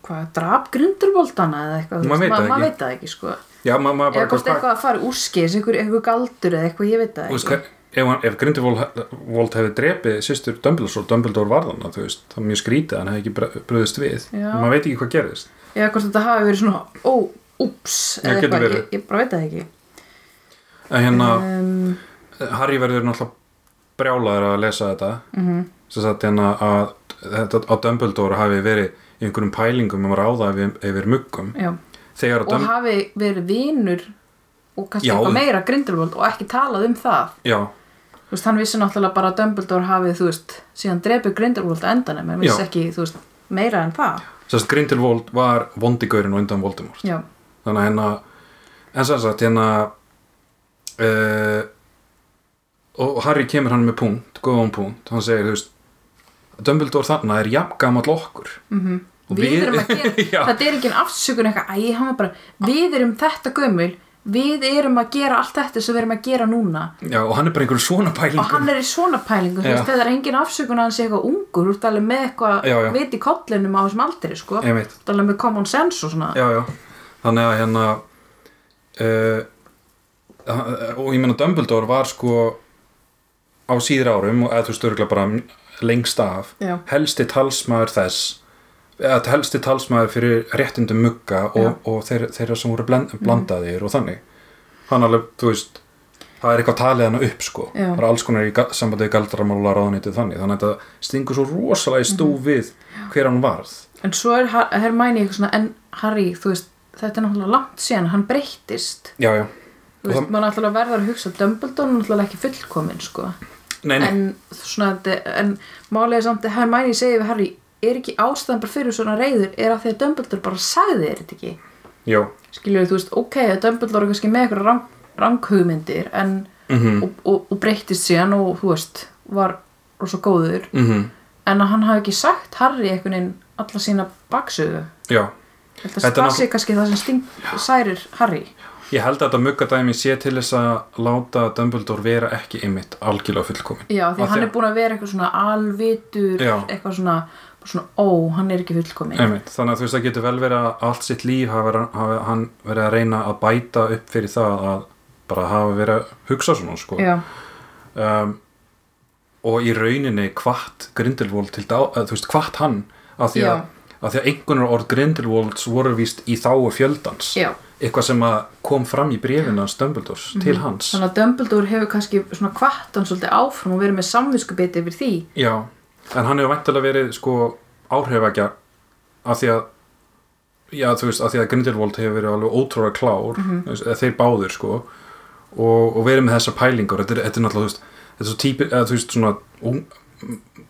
hvað, drap grindurvoldana eða eitthvað þú Maður veist, veit það maður ekki. veit það ekki sko já, ma maður eða bara hvort eitthvað að fara úrskis einhver, einhver galdur eða eitthvað, ég veit það þú veist, ekki hver- ef, hann- ef Grindelwald hefði drepið sýstur Dumbledore svo Dumbledore varðan þú veist, það er mjög skrítið, að hann hefði ekki br- brugðist við Já. maður veit ekki hvað gerðist eða hvort þetta hafi verið svona, ó, úps Já, eða getur eitthvað, verið. ég, ég bara veit það ekki en hérna, um, Harry verður náttúrulega brjálaður að lesa þetta -hmm. Mhm. sem sagt hérna að þetta á Dumbledore hafi verið í einhverjum pælingum um að ráða yfir, yfir muggum já þegar Mm. að og Dumbledore hafi verið vinur og kannski Já. eitthvað meira Grindelwald og ekki talað um það já, þú veist, hann vissi náttúrulega bara að Dumbledore hafi þú veist, síðan drepið Grindelwald á endanum en vissi Já. ekki, þú veist, meira en það sem sagt Grindelwald var vondigurinn og undan Voldemort já, þannig að hérna en sem sagt hérna uh, og Harry kemur hann með punkt góðan punkt, hann segir þú veist Dumbledore þarna er jafn gamall okkur mm -hmm. Mhm. við, erum að gera [laughs] já, þetta er ekki en afsökun eitthvað, æ, hann var bara við erum þetta gömul, við erum að gera allt þetta sem við erum að gera núna já, og hann er bara einhverjum svona pælingum og hann er í svona pælingu, þú Já. veist, þetta er engin afsökun að hann sé eitthvað ungur, þú ert alveg með Já, já. eitthvað vit í kollinum á þessum aldri, sko þú Einmitt. ert alveg með common sense og svona já, já. þannig að hérna uh, eh, og ég meina Dumbledore var sko á síðra árum og eða þú störgla bara lengst af Já. helsti talsmaður þess eða helsti talsmaður fyrir réttindum mugga Já. Mhm. og, og þeir, þeirra sem voru blend, blandaðir og þannig hann alveg, þú veist það er eitthvað talið hana upp sko Já. það er alls konar í ga- sambandi við galdramála ráðunitið þannig þannig að þetta stingur svo Mhm. rosalega í stúf við hver hann varð En svo er Har- Hermione eitthvað svona, en Harry, þú veist, þetta er náttúrulega langt síðan, hann breyttist já, já þú Og veist, það- maður náttúrulega verður að hugsa Dumbledore er náttúrulega ekki fullkominn sko nei, nei, en svona þetta- en málega samt að Hermæni segir við Harry er ekki ástæðan bara fyrir svona reyður er að því að Dumbledore bara sagði þér þetta ekki já skilur þú veist, ok, að Dumbledore er kannski með eitthvað rang, ranghugmyndir en, mhm, mhm og, og, og breyttist síðan og þú veist, var rosa góður Mm. Mhm. en að hann hafi ekki sagt Harry einhvern veginn alla sína baksögu já, Þetta Þetta er það sé kannski það sem sting, særir Harry ég held að þetta muggadæmi sé til þess að láta Dumbledore vera ekki einmitt algjörlega fullkomin Já, því Af að hann er búin að vera eitthvað svona alvitur Já. eitthvað svona, bara svona ó, hann er ekki fullkomin einmitt, þannig að þú veist það getur vel verið að allt sitt líf hafa, hafa hann verið að reyna að bæta upp fyrir það að bara hafa verið að hugsa svona sko Já, um, og í rauninni kvart Grindelwald til dá, að, þú veist kvart hann af því að, að því að einhvernar orð Grindelwalds voru víst í þáu fjöldans já Mhm. eitthvað sem að kom fram í brefinu hans Dumbledores til hans Þannig að Dumbledore hefur kannski svona kvatt hann svolítið áfram og verið með samvinskubiti yfir því já, en hann hefur væntalega verið sko áhrifækja af því að já, þú veist, af því að Grindelwald hefur verið alveg ótrúlega klár Mhm. mm -hmm. þeir báðir sko og, og verið með þessa pælingar þetta er, þetta er náttúrulega, þú veist, þetta er svo típi eða, þú veist, svona ung,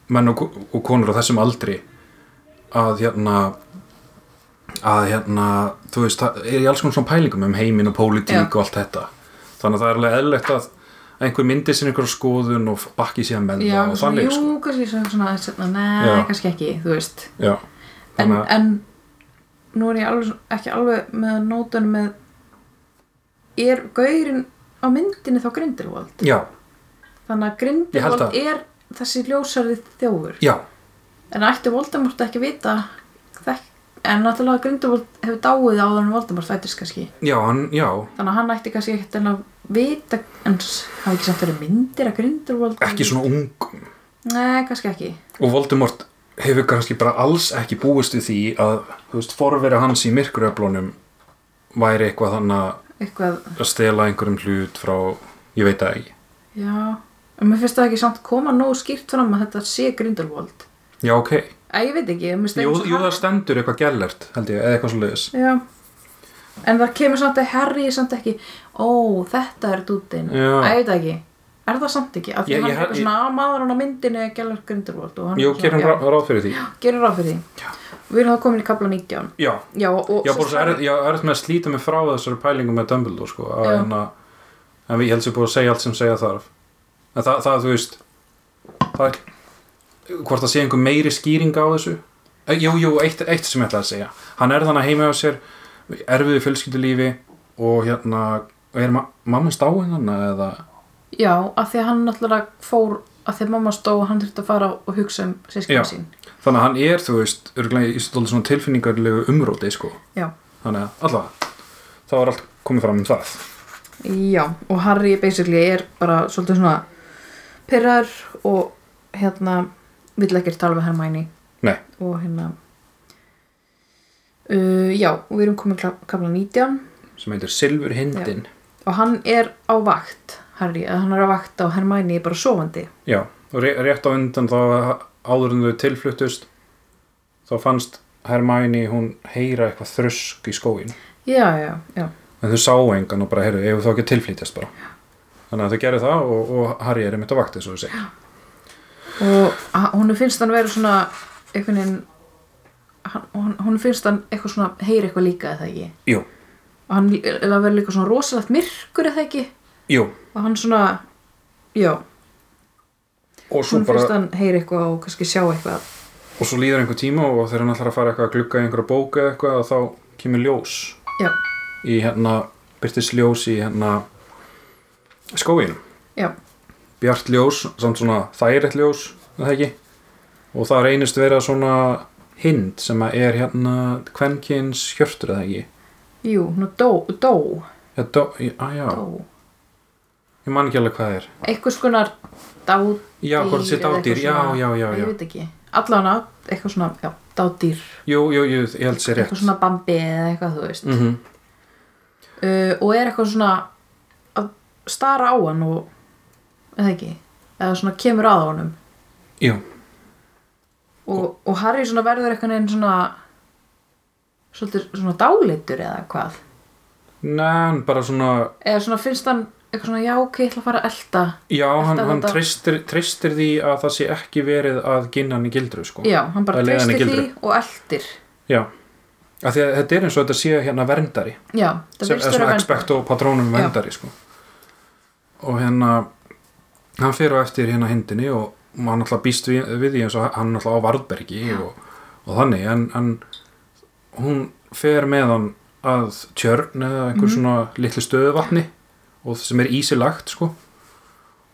menn og, ko- og konur á þessum aldri að hérna að hérna, þú veist, það er í alls konar svona pælingum um heiminn og pólitík Já. og allt þetta þannig að það er alveg eðlilegt að einhver myndi sinni einhver skoðun og bakki síðan menn Já, og svona, þannig jú, sko kannski svona, svona, svona Já. Nei, kannski ekki, þú veist já, en, þannig að, en nú er ég alveg, svona- ekki alveg með nótun með er gaurinn á myndinni þá Grindelwald já, þannig að Ég held að- Grindelwald er þessi ljósarði þjófur já, en ætti Voldemort ekki vita þekk, en náttúrulega Grindelwald hefur dáið áður en Voldemort fættist kannski já, hann, já þannig að hann ætti kannski ekkert en að vita en s- hafa ekki samt verið myndir að Grindelwald ekki svona ung nei, kannski ekki og Voldemort hefur kannski bara alls ekki búist við því að þú veist, forveri hans í myrkuröflunum væri eitthvað þannig eitthvað, að stela einhverjum hlut frá, ég veit það ekki já en mér finnst það ekki samt koma nógu skýrt fram að þetta sé Grindelwald já, ok, Æ, ég veit ekki, mér finnst jú, eitthvað jú það stendur eitthvað gellert, held ég, eða eitthvað svo leiðis Já En það kemur samt að Harry er samt ekki Ó, þetta er dútin Æ, Já. ég veit það ekki Er það samt ekki? Af því Ég- hann ég- er eitthvað ég- svona að maður hann á myndinu er Gellert Grindelwald og hann jú, er gerum svona, rá, ráð fyrir því já, gerum ráð fyrir því Já. Við erum það komin í kapla 19 já, Já, og já, bara svo er, já, er með að slíta mig frá þessari pælingu með Dumbledore, sko að, Já. en, að, en ég held sér búið að segja allt sem segja þarf en það, það þú veist það er hvort það sé einhver meiri skýring á þessu Eh, jú, jú, eitt, eitt sem ég ætlaði að segja hann er þannig heima á sér erfiðu fjölskyldulífi og hérna og er ma mamma stáin hann eða Já, af því að hann náttúrulega fór af því að mamma stó og hann þurfti að fara og hugsa um Já. sískina sín þannig að hann er, þú veist, örgulega í stóðlega svona tilfinningarlegu umróti, sko Já. þannig að allavega þá er allt komið fram um það Já, og Harry basically er bara svolítið svona pyrrar og hérna vill ekkert tala við Hermæni nei, og hérna uh, já, og við erum komin kamla 19 sem heitir Silfur Hindin og hann er á vakt Harry, eða hann er á vakt á Hermæni bara sofandi Já, og ré- rétt á undan þá áður en þau tilfluttust þá fannst Hermæni hún heyra eitthvað þrösk í skóin já, já, já, en þau sáu engan og bara heyrðu, ef þá ekki að tilflýtjast bara þannig að þau gerðu það og, og Harry er einmitt á vakti svo þú segir og h- honum finnst hann vera svona einhvern veginn hann- hon- honum finnst hann eitthvað svona heyri eitthvað líka eða ekki Jú, og hann er að vera líka svona rosalegt myrkur eða ekki jú, og hann svona, já og svo, hún finnst bara, hann heyri eitthvað og kannski sjá eitthvað og svo líður einhver tíma og þegar hann ætlar að fara eitthvað að glugga í einhverja bóka eða eitthvað að þá kemur ljós já, í hérna, byrtist ljós í hérna skóinum já, bjart ljós, samt svona þægilegt ljós er það ekki og það reynist vera svona hind sem að er hérna kvenkins hjörtur er það ekki jú, hún dó, dó, þetta, að já, dó. ég man ekki alveg hvað það er einhvers konar dádýr já, hvort sé eða eitthvað dádýr, já, svona- já, já, já ég veit ekki, allan að eitthvað svona, já, dádýr jú, jú, jú, ég held sér rétt eitthvað svona bambi eða eitthvað, þú veist mm uh, og er eitthvað svona að stara á hann og eða ekki, eða svona kemur að honum jú, og, og Harry svona verður eitthvað neginn svona svolítið svona dálitur eða hvað Nein, bara svona, eða svona finnst hann eitthvað svona já ok, ég ætla að fara að elda já, hann, Þetta- hann þetta- treystir, treystir því að það sé ekki verið að ginna hann í gildru, sko. já, hann bara Það leiðir hann í treystir því gildru. og eldir Já. Af því að þetta er eins og þetta sé hérna verndari. já, það sem er finnst vera svona vernd- expecto patronum Já. vendari sko. og hérna hann fyrir á eftir hérna hindinni og og hann alltaf býst við, við því eins og hann alltaf á Varðbergi og, og þannig en, en hún fer með hann að tjörn eða einhver svona litlu stöðuvatni og sem er ísilagt sko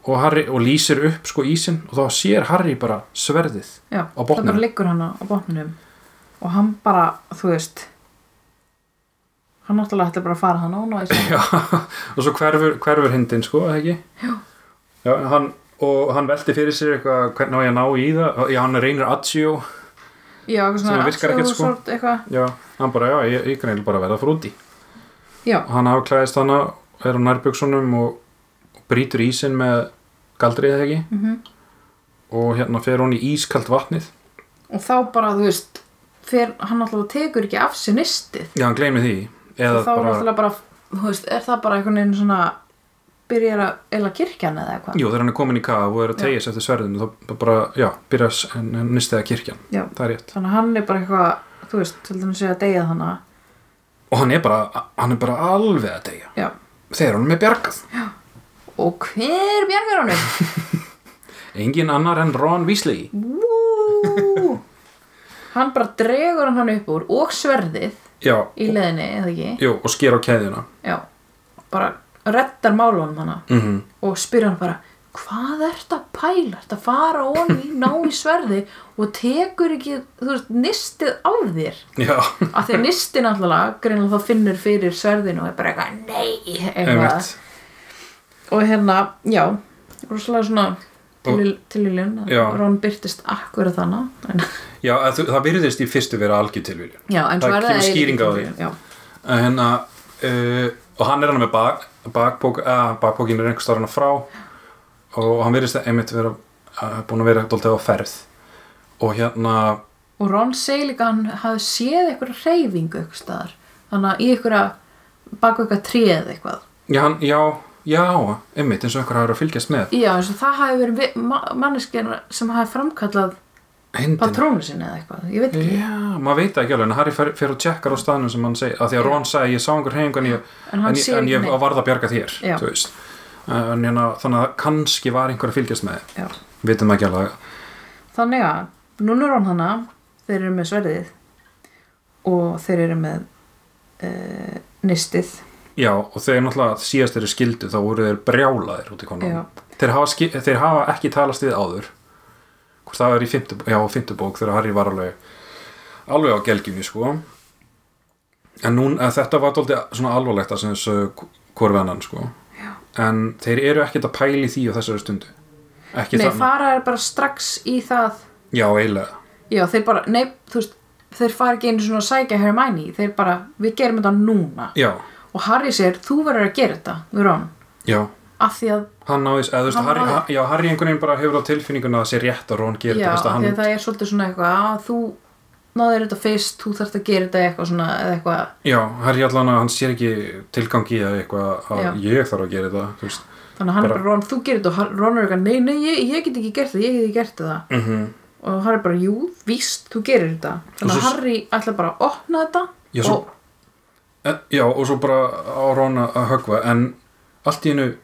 og, Harry, og lýsir upp sko ísin og þá sér Harry bara sverðið já, á það botninum. bara liggur hann á, á botninum og hann bara, þú veist hann náttúrulega ætla bara að fara hann án og þess Já, og svo hverfur, hverfur hindin sko, eða ekki? Já. hann, og hann velti fyrir sér eitthvað, hvernig á ég að ná í það? Já, hann reynir aðsjó. já, eitthvað Sem svona að virkar ekkert, sko. atlögusort, eitthvað Já, hann bara, já, ég, ég greinilega bara að verða frúti. já, Hann afklæðist hana, er á nærbjöksunum og, og brýtur ísin með galdrið, eða ekki? mhm Og hérna fer hún í ískalt vatnið. og þá bara, þú veist fer, hann náttúrulega tekur ekki af sér nistið Já, hann gleymi því. Eða og þá bara, náttúrulega bara, þú veist, er það bara einhvern veginn svona byrjar að eila kirkjan eða eitthvað jú, þegar hann er komin í kaf og er að tegja sér eftir sverðinu, þá bara, já, byrja að s- n- n- nistiða kirkjan. Já. Það er rétt. þannig að hann er bara eitthvað þú veist, til dæmis að deyja þannig Og hann er bara, hann er bara alveg að tegja. já, Þegar hann er bjargað. og hver bjargar honum? Engin annar en Ron Weasley. Vú! hann bara dregur hann upp úr og sverðið Já, í leðinni, eða ekki jú, og sker á keðjuna. já, bara reddar málunum þannig Mm og spyr hann bara hvað ert að pæla, ert að fara ofan í ná í sverði og tekur ekki, þú veist, nistið á þér Já, að því nisti náttúrulega greinlega þá finnur fyrir sverðinu og er bara eitthvað nei eitthvað. einmitt. og hérna, já rosalega svona til- tilviljun Já. að Ron byrtist akkur þannig en, Já, að þú- það virðist í fyrstu vera algjör tilvíljun. já, en Það svo er kemur eiginlega skýring á tilviljun, já, En hérna, uh, og hann er hann með bak, bakbók, að bakbókin er einhver starfana frá og hann virðist einmitt vera uh, búin að vera dóltið á ferð. Og hérna, og Ron segir líka að hann hafði séð eitthvað reyfingu eitthvað staðar þannig að í eitthvað baku eitthvað tréð eitthvað já, hann, já, já, einmitt eins og einhver hafa verið að fylgjast með. já, eins og það hafi verið vi- ma manneskir sem hafi framkallað Hindin. patrónu sinni eða eitthvað, ég veit ekki Já, maður veit það ekki alveg, en Harry fer, fer og tjekkar á staðnum sem hann segi, að því að Ron sagði, ég sá einhver hefingu en ég, En hann en, ég- sér en ekki ég neitt. varð að bjarga þér, Já. þú veist. En, hérna, þannig að kannski var einhver að fylgjast með þér, já. vitum ekki alveg. Þannig að núna er hann hana, þeir eru með sverðið og þeir eru með uh, nistið. Já, og þegar náttúrulega síðast eru skildu þá voru þeir brjálaðir út Já. í konum. Þeir hafa, ski- þeir hafa ekki talast við áður, hvort það er í fimmtu, já, fimmtu bók þegar Harry var alveg, alveg á gelgjunni, sko. En nún, að þetta var dóltið svona alvarlegt að sem þessu korfiðanan, sko. Já. En þeir eru ekkert að pæli því á þessari stundu. Ekki Nei, þannig. fara er bara strax í það, Já, eiginlega. já þeir bara, nei, þú veist, þeir fara ekki einu svona að sækja Hermione, þeir bara, við gerum þetta núna. Já, Og Harry segir, þú verður að gera þetta, Ron, já. af því að, Hann náðist, eða þú veist, Hann Harry, náði- ha, já, Harry einhvern veginn bara hefur á tilfinninguna að það sé rétt að Ron gerir já, þetta, af þess að því að hann, það er svolítið svona eitthvað, að þú náður þetta fyrst, þú þarft að gera þetta eitthvað svona, eða eitthvað, já, Harry allan að hann sér ekki tilgangi eða eitthvað að Já. ég þarf að gera þetta, þú veist, þannig að hann Bara- bara, Ron, þú gerir þetta og Har- Ron er eitthvað, nei, nei, ég, ég get ekki gert það, ég get ekki gert það. mm -hmm. og Harry bara, jú, víst, þú gerir þetta þannig Og að svo- Harry ætla bara að opna þetta Já, svo- og, já, og svo bara á Ron að að höggva, en allt í einu,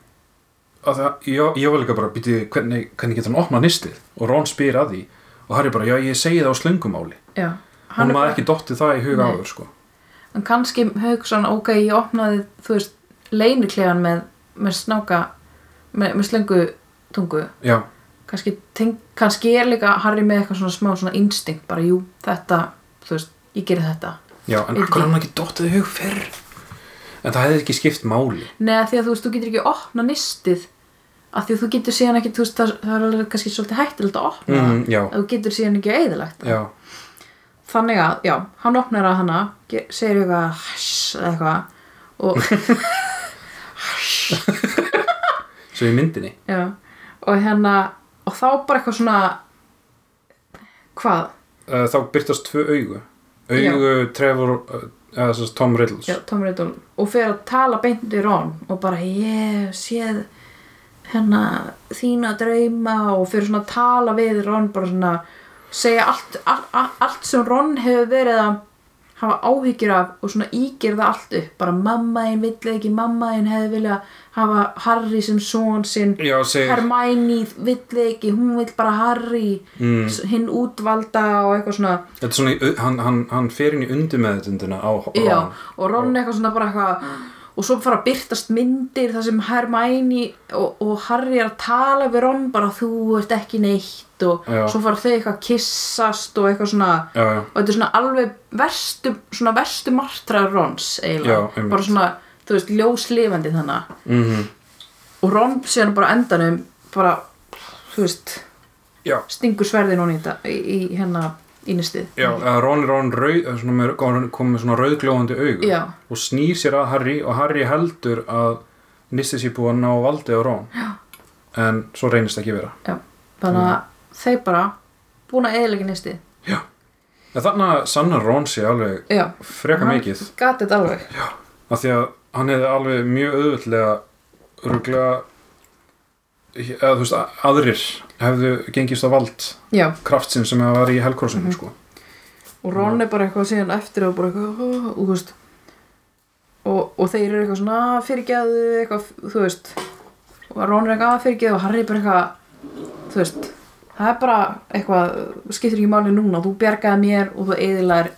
að það, já, ég var líka bara, býti, hvernig, hvernig getur hann opnað nistið og Ron spyr að því og Harry bara, já, ég segi það á slöngumáli já, og hann er maður bara, ekki dottið það í huga Nei. áður, sko, en kannski haugs hann, ok, ég opnaði, þú veist, leiniklegan með, með snáka með, með slöngu tungu já, kannski, teng, kannski er líka Harry með eitthvað svona smá svona instinkt bara, jú, þetta, þú veist, ég gerir þetta já, en Veit ekki. akkur hann ekki dottið í hug fyrr, en það hefði ekki skipt máli, neða því að þú veist, þú getur ekki opna nistið af því að þú getur síðan ekki, þú veist, það, það er alveg kannski svolítið hættilegt að opna það mm, já, að þú getur síðan ekki eðilagt já, þannig að, já, hann opnar að hana ge- segir eitthvað hæss eða eitthvað og, [laughs] [laughs] svo í myndinni, já, og hérna og þá bara eitthvað svona hvað? uh, þá byrtast Eh, tvö augu augu Trevor, uh, eða þess að Tom Riddles já, Tom Riddle og fer að tala beint í Ron og bara ég hef séð hérna þína drauma og fyrir svona að tala við Ron bara svona segja allt, all, all, allt sem Ron hefur verið að hafa áhyggjur af og svona ígir það allt upp bara mamma einn vill ekki, mamma einn hefði viljað hafa Harry sem son sinn já segir, Hermæni vill ekki, hún vill bara Harry mm, s- hinn útvalda og eitthvað svona þetta er svona, í- hann, hann, hann fer inn í undirmeðutundina á Ron Já, og Ron eitthvað svona bara eitthvað og svo fara að byrtast myndir þar sem Hermione og, og Harry er að tala við Ron bara þú ert ekki neitt og Já. svo fara þau eitthvað að kyssast og eitthvað svona já, já, og þetta er svona alveg verstu, svona verstu martra Rons eiginlega, Já, einmitt. bara svona þú veist, ljóslifandi þannig mm og Ron síðan bara á endanum bara, þú veist já. stingur sverðin hún í, þetta- í, í hérna í nistið Já, að Ron er orðinn rauð, eða svona með, orðinn- komið með svona rauðglóðandi augu Já. og snýr sér að Harry og Harry heldur að nýstis ég búið að ná valdi á Ron Já. en svo reynist ekki vera Já, þannig að þeir bara búin að eðilegja nistið en þannig að sannar Ron sé alveg Já, freka Hann mikið gat þetta alveg af því að hann hefði alveg mjög auðvöldlega ruglega eða þú veist a- aðrir hefðu gengist á vald Já, kraftsinn sem það var í helgkorsinu Mhm. sko. og Ron er bara eitthvað síðan eftir og bara eitthvað, ó, þú veist og, og þeir eru eitthvað svona "Ah, fyrirgefðu, eitthvað, þú veist og Ron er eitthvað "Ah, fyrirgefðu og Harry bara eitthvað þú veist, það er bara eitthvað skiptir ekki máli núna, þú bjargaði mér og þú eðilaðir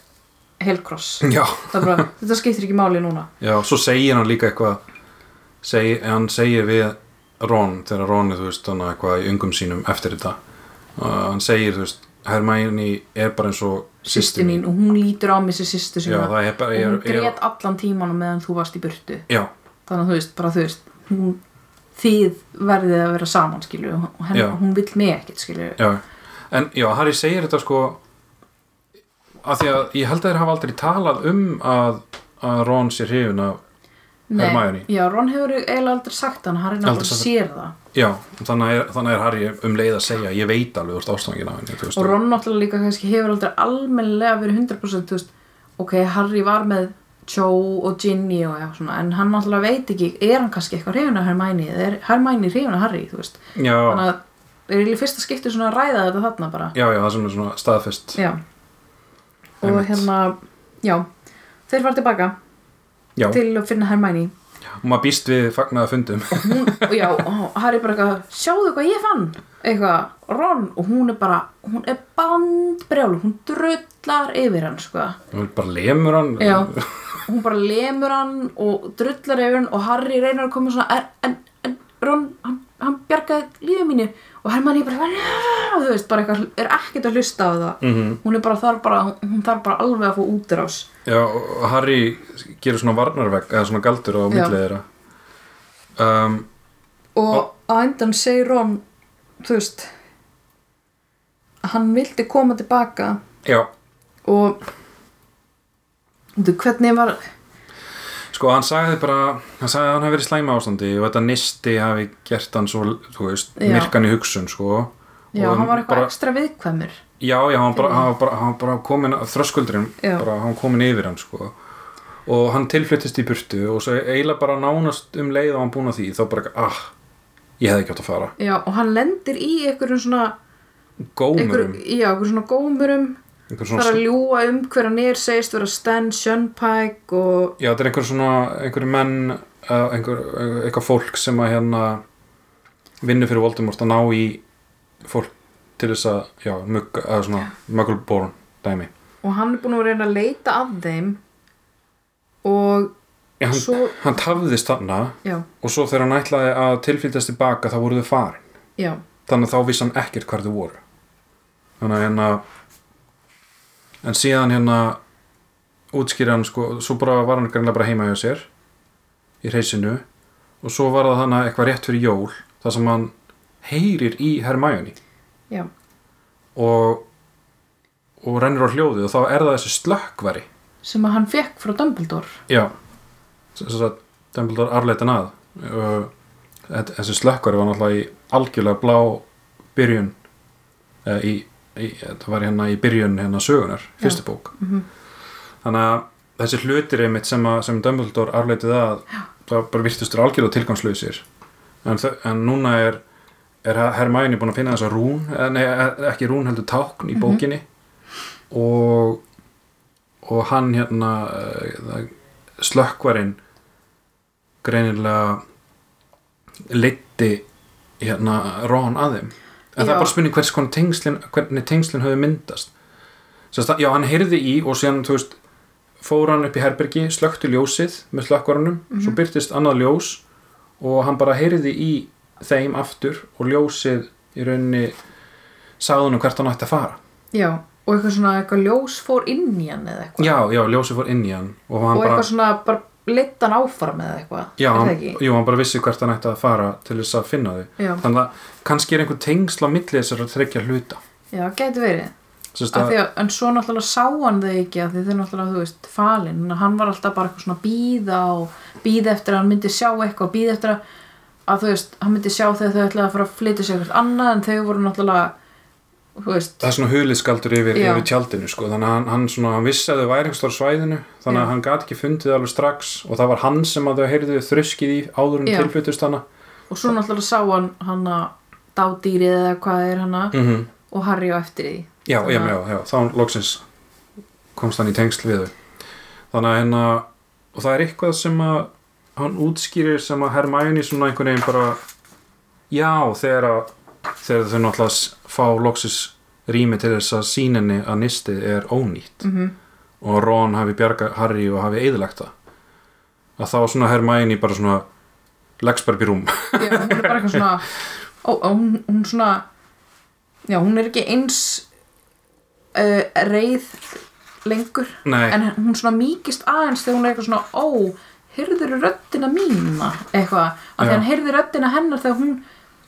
helkross Já, það er bara, þetta skiptir ekki máli núna Já, svo segir hann líka eitthvað seg, hann segir við Ron, þegar Ron er, þú veist, hann eitthvað í ungum sínum eftir þetta uh, hann segir, þú veist, Hermæni er bara eins og sýstu mín og hún lítur á mig sem sýstu Já, sína það er bara og er, hún er, grét allan tíman meðan þú varst í burtu Já, þannig að þú veist, bara þú veist hún, þið verðið að vera saman skilju, og henn, Já. hún vill mig ekkert skilju já En já, Harry segir þetta sko að því að ég held að þeir hafa aldrei talað um að, að Ron sér hrifin af Hermione. já, Ron hefur eiginlega aldrei sagt hann hann er Aldrei náttúrulega sagt- sér það Já, þannig er, þannig er Harry um leið að segja ég veit alveg úr ástofangin af henni þú veist, og Ron náttúrulega líka kannski hefur aldrei almennilega verið 100% þú veist, ok, Harry var með Cho og Ginny og eitthvað svona en hann náttúrulega veit ekki, er hann kannski eitthvað hrifin af Hermione, eða er Hermione hrifin af Harry þú veist, Já, þannig að er eiginlega í fyrsta skipti svona að ræða þetta þarna bara já, já, það sem er svona staðfest já, og Einmitt. hérna já, þeir fara tilbaka Já, til að finna Hermione og maður býst við fagnaða fundum og já, og Harry bara eitthvað sjáðu hvað ég fann eitthvað, Ron og hún er bara, hún er bandbrjál hún drullar yfir hann sko. Hún bara lemur hann já, hún bara lemur hann og drullar yfir hann og Harry reynir að koma svona "Er- en, en Ron, hann, hann bjargaði lífið mínu og Hermanni bara "Njá", þú veist, bara eitthvað, er ekkert að hlusta á það Mhm. hún er bara þar bara, hún þarf bara alveg að fá útrás Já, og Harry gerur svona varnarvegg eða svona galdur á Já. millið þeirra um, og á endan segir Ron þú veist að hann vildi koma tilbaka Já, og þú, hvernig var sko hann sagði bara hann sagði að hann hafi verið í slæma ástandi og þetta nisti hafi gert hann svo þú veist, Já. myrkan í hugsun sko já, Og hann var eitthvað bara, ekstra viðkvæmur Já, já, hann var bara, hann var bara, hann var bara komin að þröskuldurinn, Já. bara hann var komin yfir hann sko og hann tilflyttist í burtu og svo eiginlega bara nánast um leið og hann búin að því, þá bara, ah ég hefði ekki átt að fara, já, og hann lendir í einhverjum svona gómurum um einhverjum, já, einhverjum svona gómurum einhver þar að ljúga um hver hann er segist vera Stan Shunpike og Já, þetta er einhver svona, einhverju menn uh, einhver, eitthvað fólk sem að hérna vinnur fyrir Voldemort að ná í fólk til þess að, já, mugg, eða svona mögulborun dæmi. og hann er búin að reyna að leita af þeim og En hann, svo, hann tafðist þarna já, og svo þegar hann ætlaði að tilfylgdast tilbaka þá voru þau farin. já Þannig að þá vissi hann ekkert hvar þau voru. Þannig að hérna en síðan hérna útskýra hann sko, svo bara var hann greinlega bara heima hjá sér í reysinu og svo var það hann eitthvað rétt fyrir jól þar sem hann heyrir í Hermione já, og, og rennur á hljóðið og þá er það þessi slökkvari sem að hann fekk frá Dumbledore já þess að Dumbledore arleitin að Uh, þetta- þessi slökkvari var náttúrulega í algjörlega blá byrjun eða í, í, þetta var hérna í byrjun hérna sögunar, fyrstu bók Mhm. þannig að þessi hlutir einmitt sem, að, sem Dumbledore afleitið að það bara virtustur algjörðu tilgangslausir en, þau- en núna er, er Hermæni búin að finna þessa rún eh, nei, eh, ekki rún heldur tákn í bókinni og og hann hérna eh, það- slökkvarinn greinilega leiddi hérna Ron að þeim en Já. það er bara spurning hvers konar tengslin hvernig tengslin höfðu myndast Sest, já, hann heyrði í og síðan, þú veist fór hann upp í herbergi, slökkti ljósið með slökkvarunum, svo byrtist annað ljós og hann bara heyrði í þeim aftur og ljósið í rauninni sagðunum hvert hann ætti að fara já, og eitthvað svona eitthvað ljós fór inn í hann eða eitthvað já, já, ljósið fór inn í hann og hann og bara eitthvað svona bara leitt hann áfram eða eitthvað Já, er það hann, ekki? jú, hann bara vissi hvert hann ætti að fara til þess að finna þau. Já. Þannig að kannski er einhver tengsl á milli þessar að tryggja hluta. Já, gæti verið Sérst að að, því að, en svo náttúrulega sá hann þau ekki að því þau náttúrulega, þú veist, falin Þannig að hann var alltaf bara eitthvað svona býða og býða eftir að hann myndi sjá eitthvað og býða eftir að, að þú veist, hann myndi sjá þegar þau ætlaði að fara að flytja sér eitthvað annað en þau voru náttúrulega þú veist, það er svona huliskaldur yfir, Já. yfir tjaldinu, sko. Þannig að hann, hann, svona, hann vissi að þau væri einhverstaður svæðinu, Já. þannig að hann gat ekki fundið alveg strax og það var hann sem að þau heyrðu þruskið í áður en Já. tilbyttust hana. og svo náttúrulega sá hann hann að dádýrið eða hvað er hann Mm -hmm. og Harry á eftir því Já, Þannig já, að- já, já, þá loksins komst hann í tengsl við þau. Þannig að hérna, og það er eitthvað sem að hann útskýrir sem að Hermæni svona einhvern veginn bara, já, þegar að, þegar þau náttúrulega s- fá loksins rými til þess að síninni að nistið er ónýtt mm og Ron hafi bjarga Harry og hafi eðilagt það. Að þá svona Hermæni bara svona leggst bara upp í rúm. [laughs] já, hún er bara eitthvað svona ó, ó, hún, hún svona já, hún er ekki eins uh, reið lengur Nei, en hún svona mýkist aðeins þegar hún er eitthvað svona ó, heyrður röddina mína eitthvað, af því Já. hann heyrði röddina hennar þegar hún,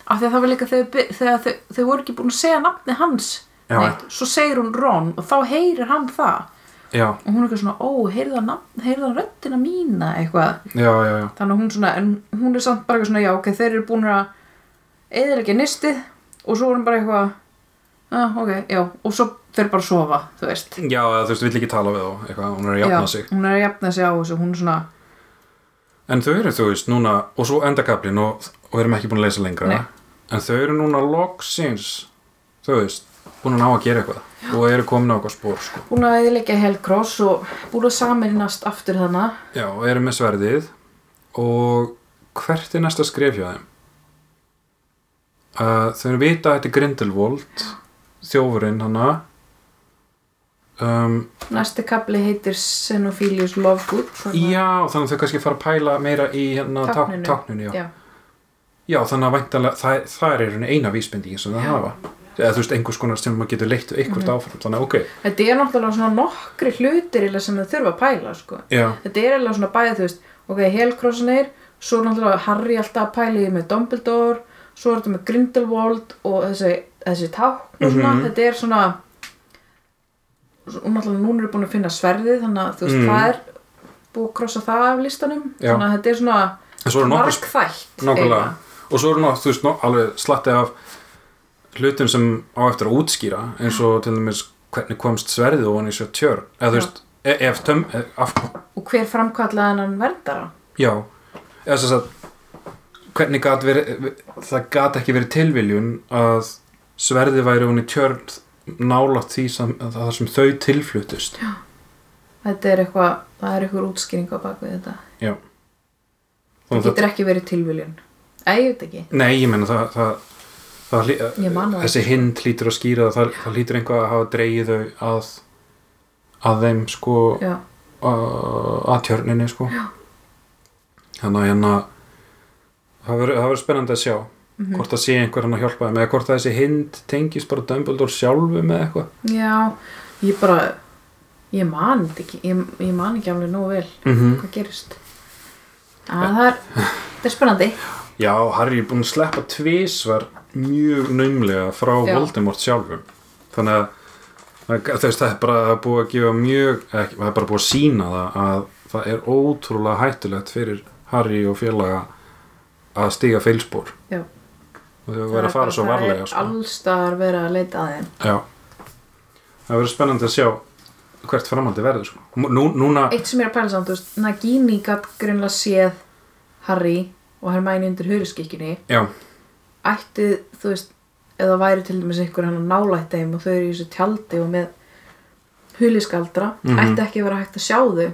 af því að það var líka þegar, by- þegar þau, þau voru ekki búin að segja nafni hans Já. svo segir hún Ron og þá heyrir hann það já, og hún er eitthvað svona, ó, heyrðu hann nafn- heyrðu hann röddina mína eitthvað, já, já, já. þannig að hún svona en hún er samt bara eitthvað svona, já, ok, þeir eru búin að eða ekki nistið og svo er hún bara eitthvað ah, ok, já, og svo þeir bara sofa þú veist Já, þú veist, vill ekki tala við þá, eitthvað, hún er að jafna sig. hún er að jafna sig á þessu, hún er svona En þau eru, þú veist, núna, og svo endakablin og, og erum ekki búin að leysa lengra Nei. en þau eru núna loksins þú veist, búin að ná að gera eitthvað og eru komin á eitthvað spór, sko búin að eðilegja Hellcross og búin að saminast aftur þannig Já, og eru með sverðið og hvert er næsta skref hjá þeim? Uh, þau eru vita að þetta er Grindelwald þjófurinn hana um, næsti kapli heitir Xenophilius Lovegood þannig að- Já, þannig að þau kannski fara að pæla meira í hérna Tákninu. tákninu, tákninu já. já, já. Já, þannig að væntanlega, það, það er í rauninni eina vísbendingin sem það Já. Mhm. hafa. Eða þú veist, einhvers konar sem maður getur leitt eitthvað áfram. Þannig að, ok, þetta er náttúrulega svona nokkri hlutir eiginlega sem þau þurfa að pæla sko. já, þetta er eiginlega svona bæðið þú veist ok, Hellcrossinir, svo náttúrulega Harry alltaf að pæla í með Dumbledore svo er þetta með Grindelwald og þessi, þessi tákn og svona Mhm. þetta er svona og náttúrulega núna er búin að finna sverðið þannig að þú veist, Mhm. það er búið að krossa það af listanum Já. þannig að þetta er svona en svo eru nokkur, markþætt nokkulega, eiginlega. og svo eru nokkur, þú veist, nok, alveg slatti af hlutum sem á eftir að útskýra, eins og til dæmis hvernig komst sverðið og hann í sér tjörn. Eða Já. þú veist, e ef töm, e af, og hver framkallaði hennan verndara já, eða þess að, hvernig gat verið, það gat ekki verið tilviljun að sverðið væri hún í tjörn nálátt því sem, það sem þau tilflutust. Já. þetta er eitthvað, það er eitthvað útskýring á bak við þetta Já það getur ekki verið tilviljun Æ, ég veit ekki Nei, ég meina það, það, það, Ég man það það þessi ekki, sko. hind lítur að skýra það, það, það lítur einhvað að hafa dreigið þau að að þeim sko já, uh, að tjörninni sko Já. þannig að hérna það verður það verður spennandi að sjá Mhm. hvort það sé einhver hann að hjálpa þeim eða hvort þessi hind tengist bara Dumbledore sjálfu með eitthvað já, ég bara ég man þetta ekki ég, ég man ekki alveg nógu vel mm hvað gerist að það er, það er [laughs] spennandi Já, Harry er búin að sleppa tvisvar mjög naumlega frá Já. Voldemort sjálfum þannig að að- þú veist, það er bara búið að gefa mjög ekki, það er bara búið að sína það að það er ótrúlega hættulegt fyrir Harry og félaga að stiga feilspor já, og þau verður að fara svo varlega sko. sko. allstaðar verið að leita að þeim Já, það verður spennandi að sjá hvert framhaldi verður sko. Nú, núna, Eitt sem ég er að pæla samt, þú veist, Nagini gatt grunlega séð Harry og Hermæni undir hurðskikkjunni. já, Ætti, þú veist, eða væri til dæmis einhver hann að nálætt þeim og þau eru í þessu tjaldi og með huliskaldra, Mhm. ætti ekki að vera hægt að sjá þau.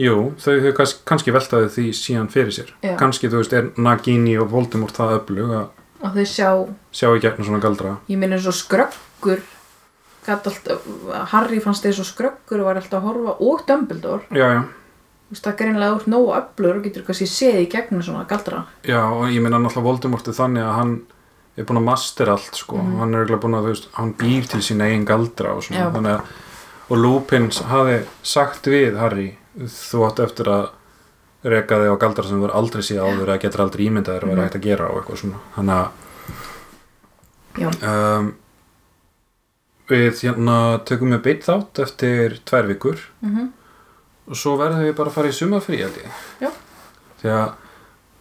jú, þau hefur kannski, kannski veltaði því síðan fyrir sér Já. kannski, þú veist, er Nagini og Voldemort það öflug að Og þau sjá, sjá í gegnum svona galdra ég minna eins og skröggur, gatt alltaf, Harry fannst þeir svo skröggur og var alltaf að horfa og Dumbledore. já, já, Þú veist, það er greinlega úr nógu öflur og getur kannski séð í gegnum svona galdra. já, og ég meina náttúrulega Voldemort er þannig að hann er búin að master allt, sko, hann er eiginlega búin að, þú veist, hann býr til sín eigin galdra og svona, Mhm. Já. þannig að og Lupin hafi sagt við Harry, þú átt eftir að reka þig á galdra sem þú voru aldrei síða áður eða getur aldrei ímyndað þér að vera Mhm. hægt að gera og eitthvað svona, þannig að Já. um, við hérna tökum við beitt þátt eftir tvær vikur Mm og svo verðum við bara að fara í sumafrí held ég Já. því að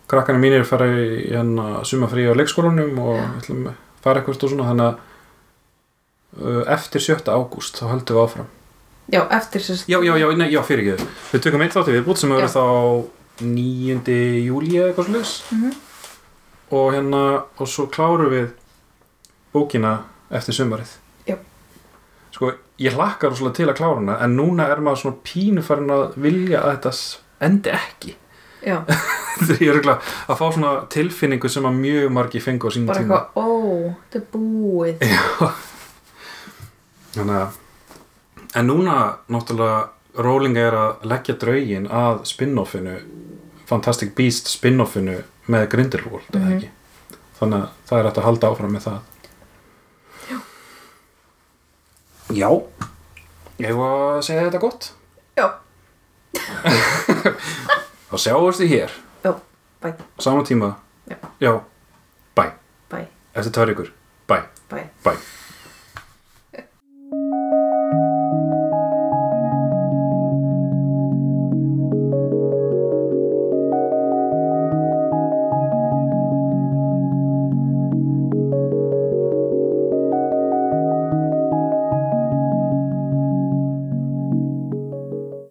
krakkarnir mínir fara í hérna sumafrí á leikskólanum og við ætlum að fara eitthvað og svona þannig að uh, eftir 7. ágúst þá höldum við áfram Já, eftir sérst. já, já, já, nei, já, fyrir ekki við tökum eitt þátt í viðbútt sem verður Já. þá 9. júli eða eitthvað slags Mhm. og hérna og svo klárum við bókina eftir sumarið Já. sko ég hlakkar svolítið til að klára hana en núna er maður svona pínu farin að vilja að þetta s- endi ekki [laughs] Já, þegar ég er örugglega að fá svona tilfinningu sem að mjög margi fengu á sínum bara tíma eitthvað, ó, þetta er búið. þannig að en núna náttúrulega Rowling er að leggja draugin að spin-offinu Fantastic Beast spin-offinu með Grindelwald eða Mhm. ekki þannig að það er hægt að halda áfram með það Já Ég var að segja þetta gott Já, þá sjáumst þið hér já, bæ, á sama tíma Já. Já. bæ, bæ, eftir tvær ykkur bæ, bæ. bæ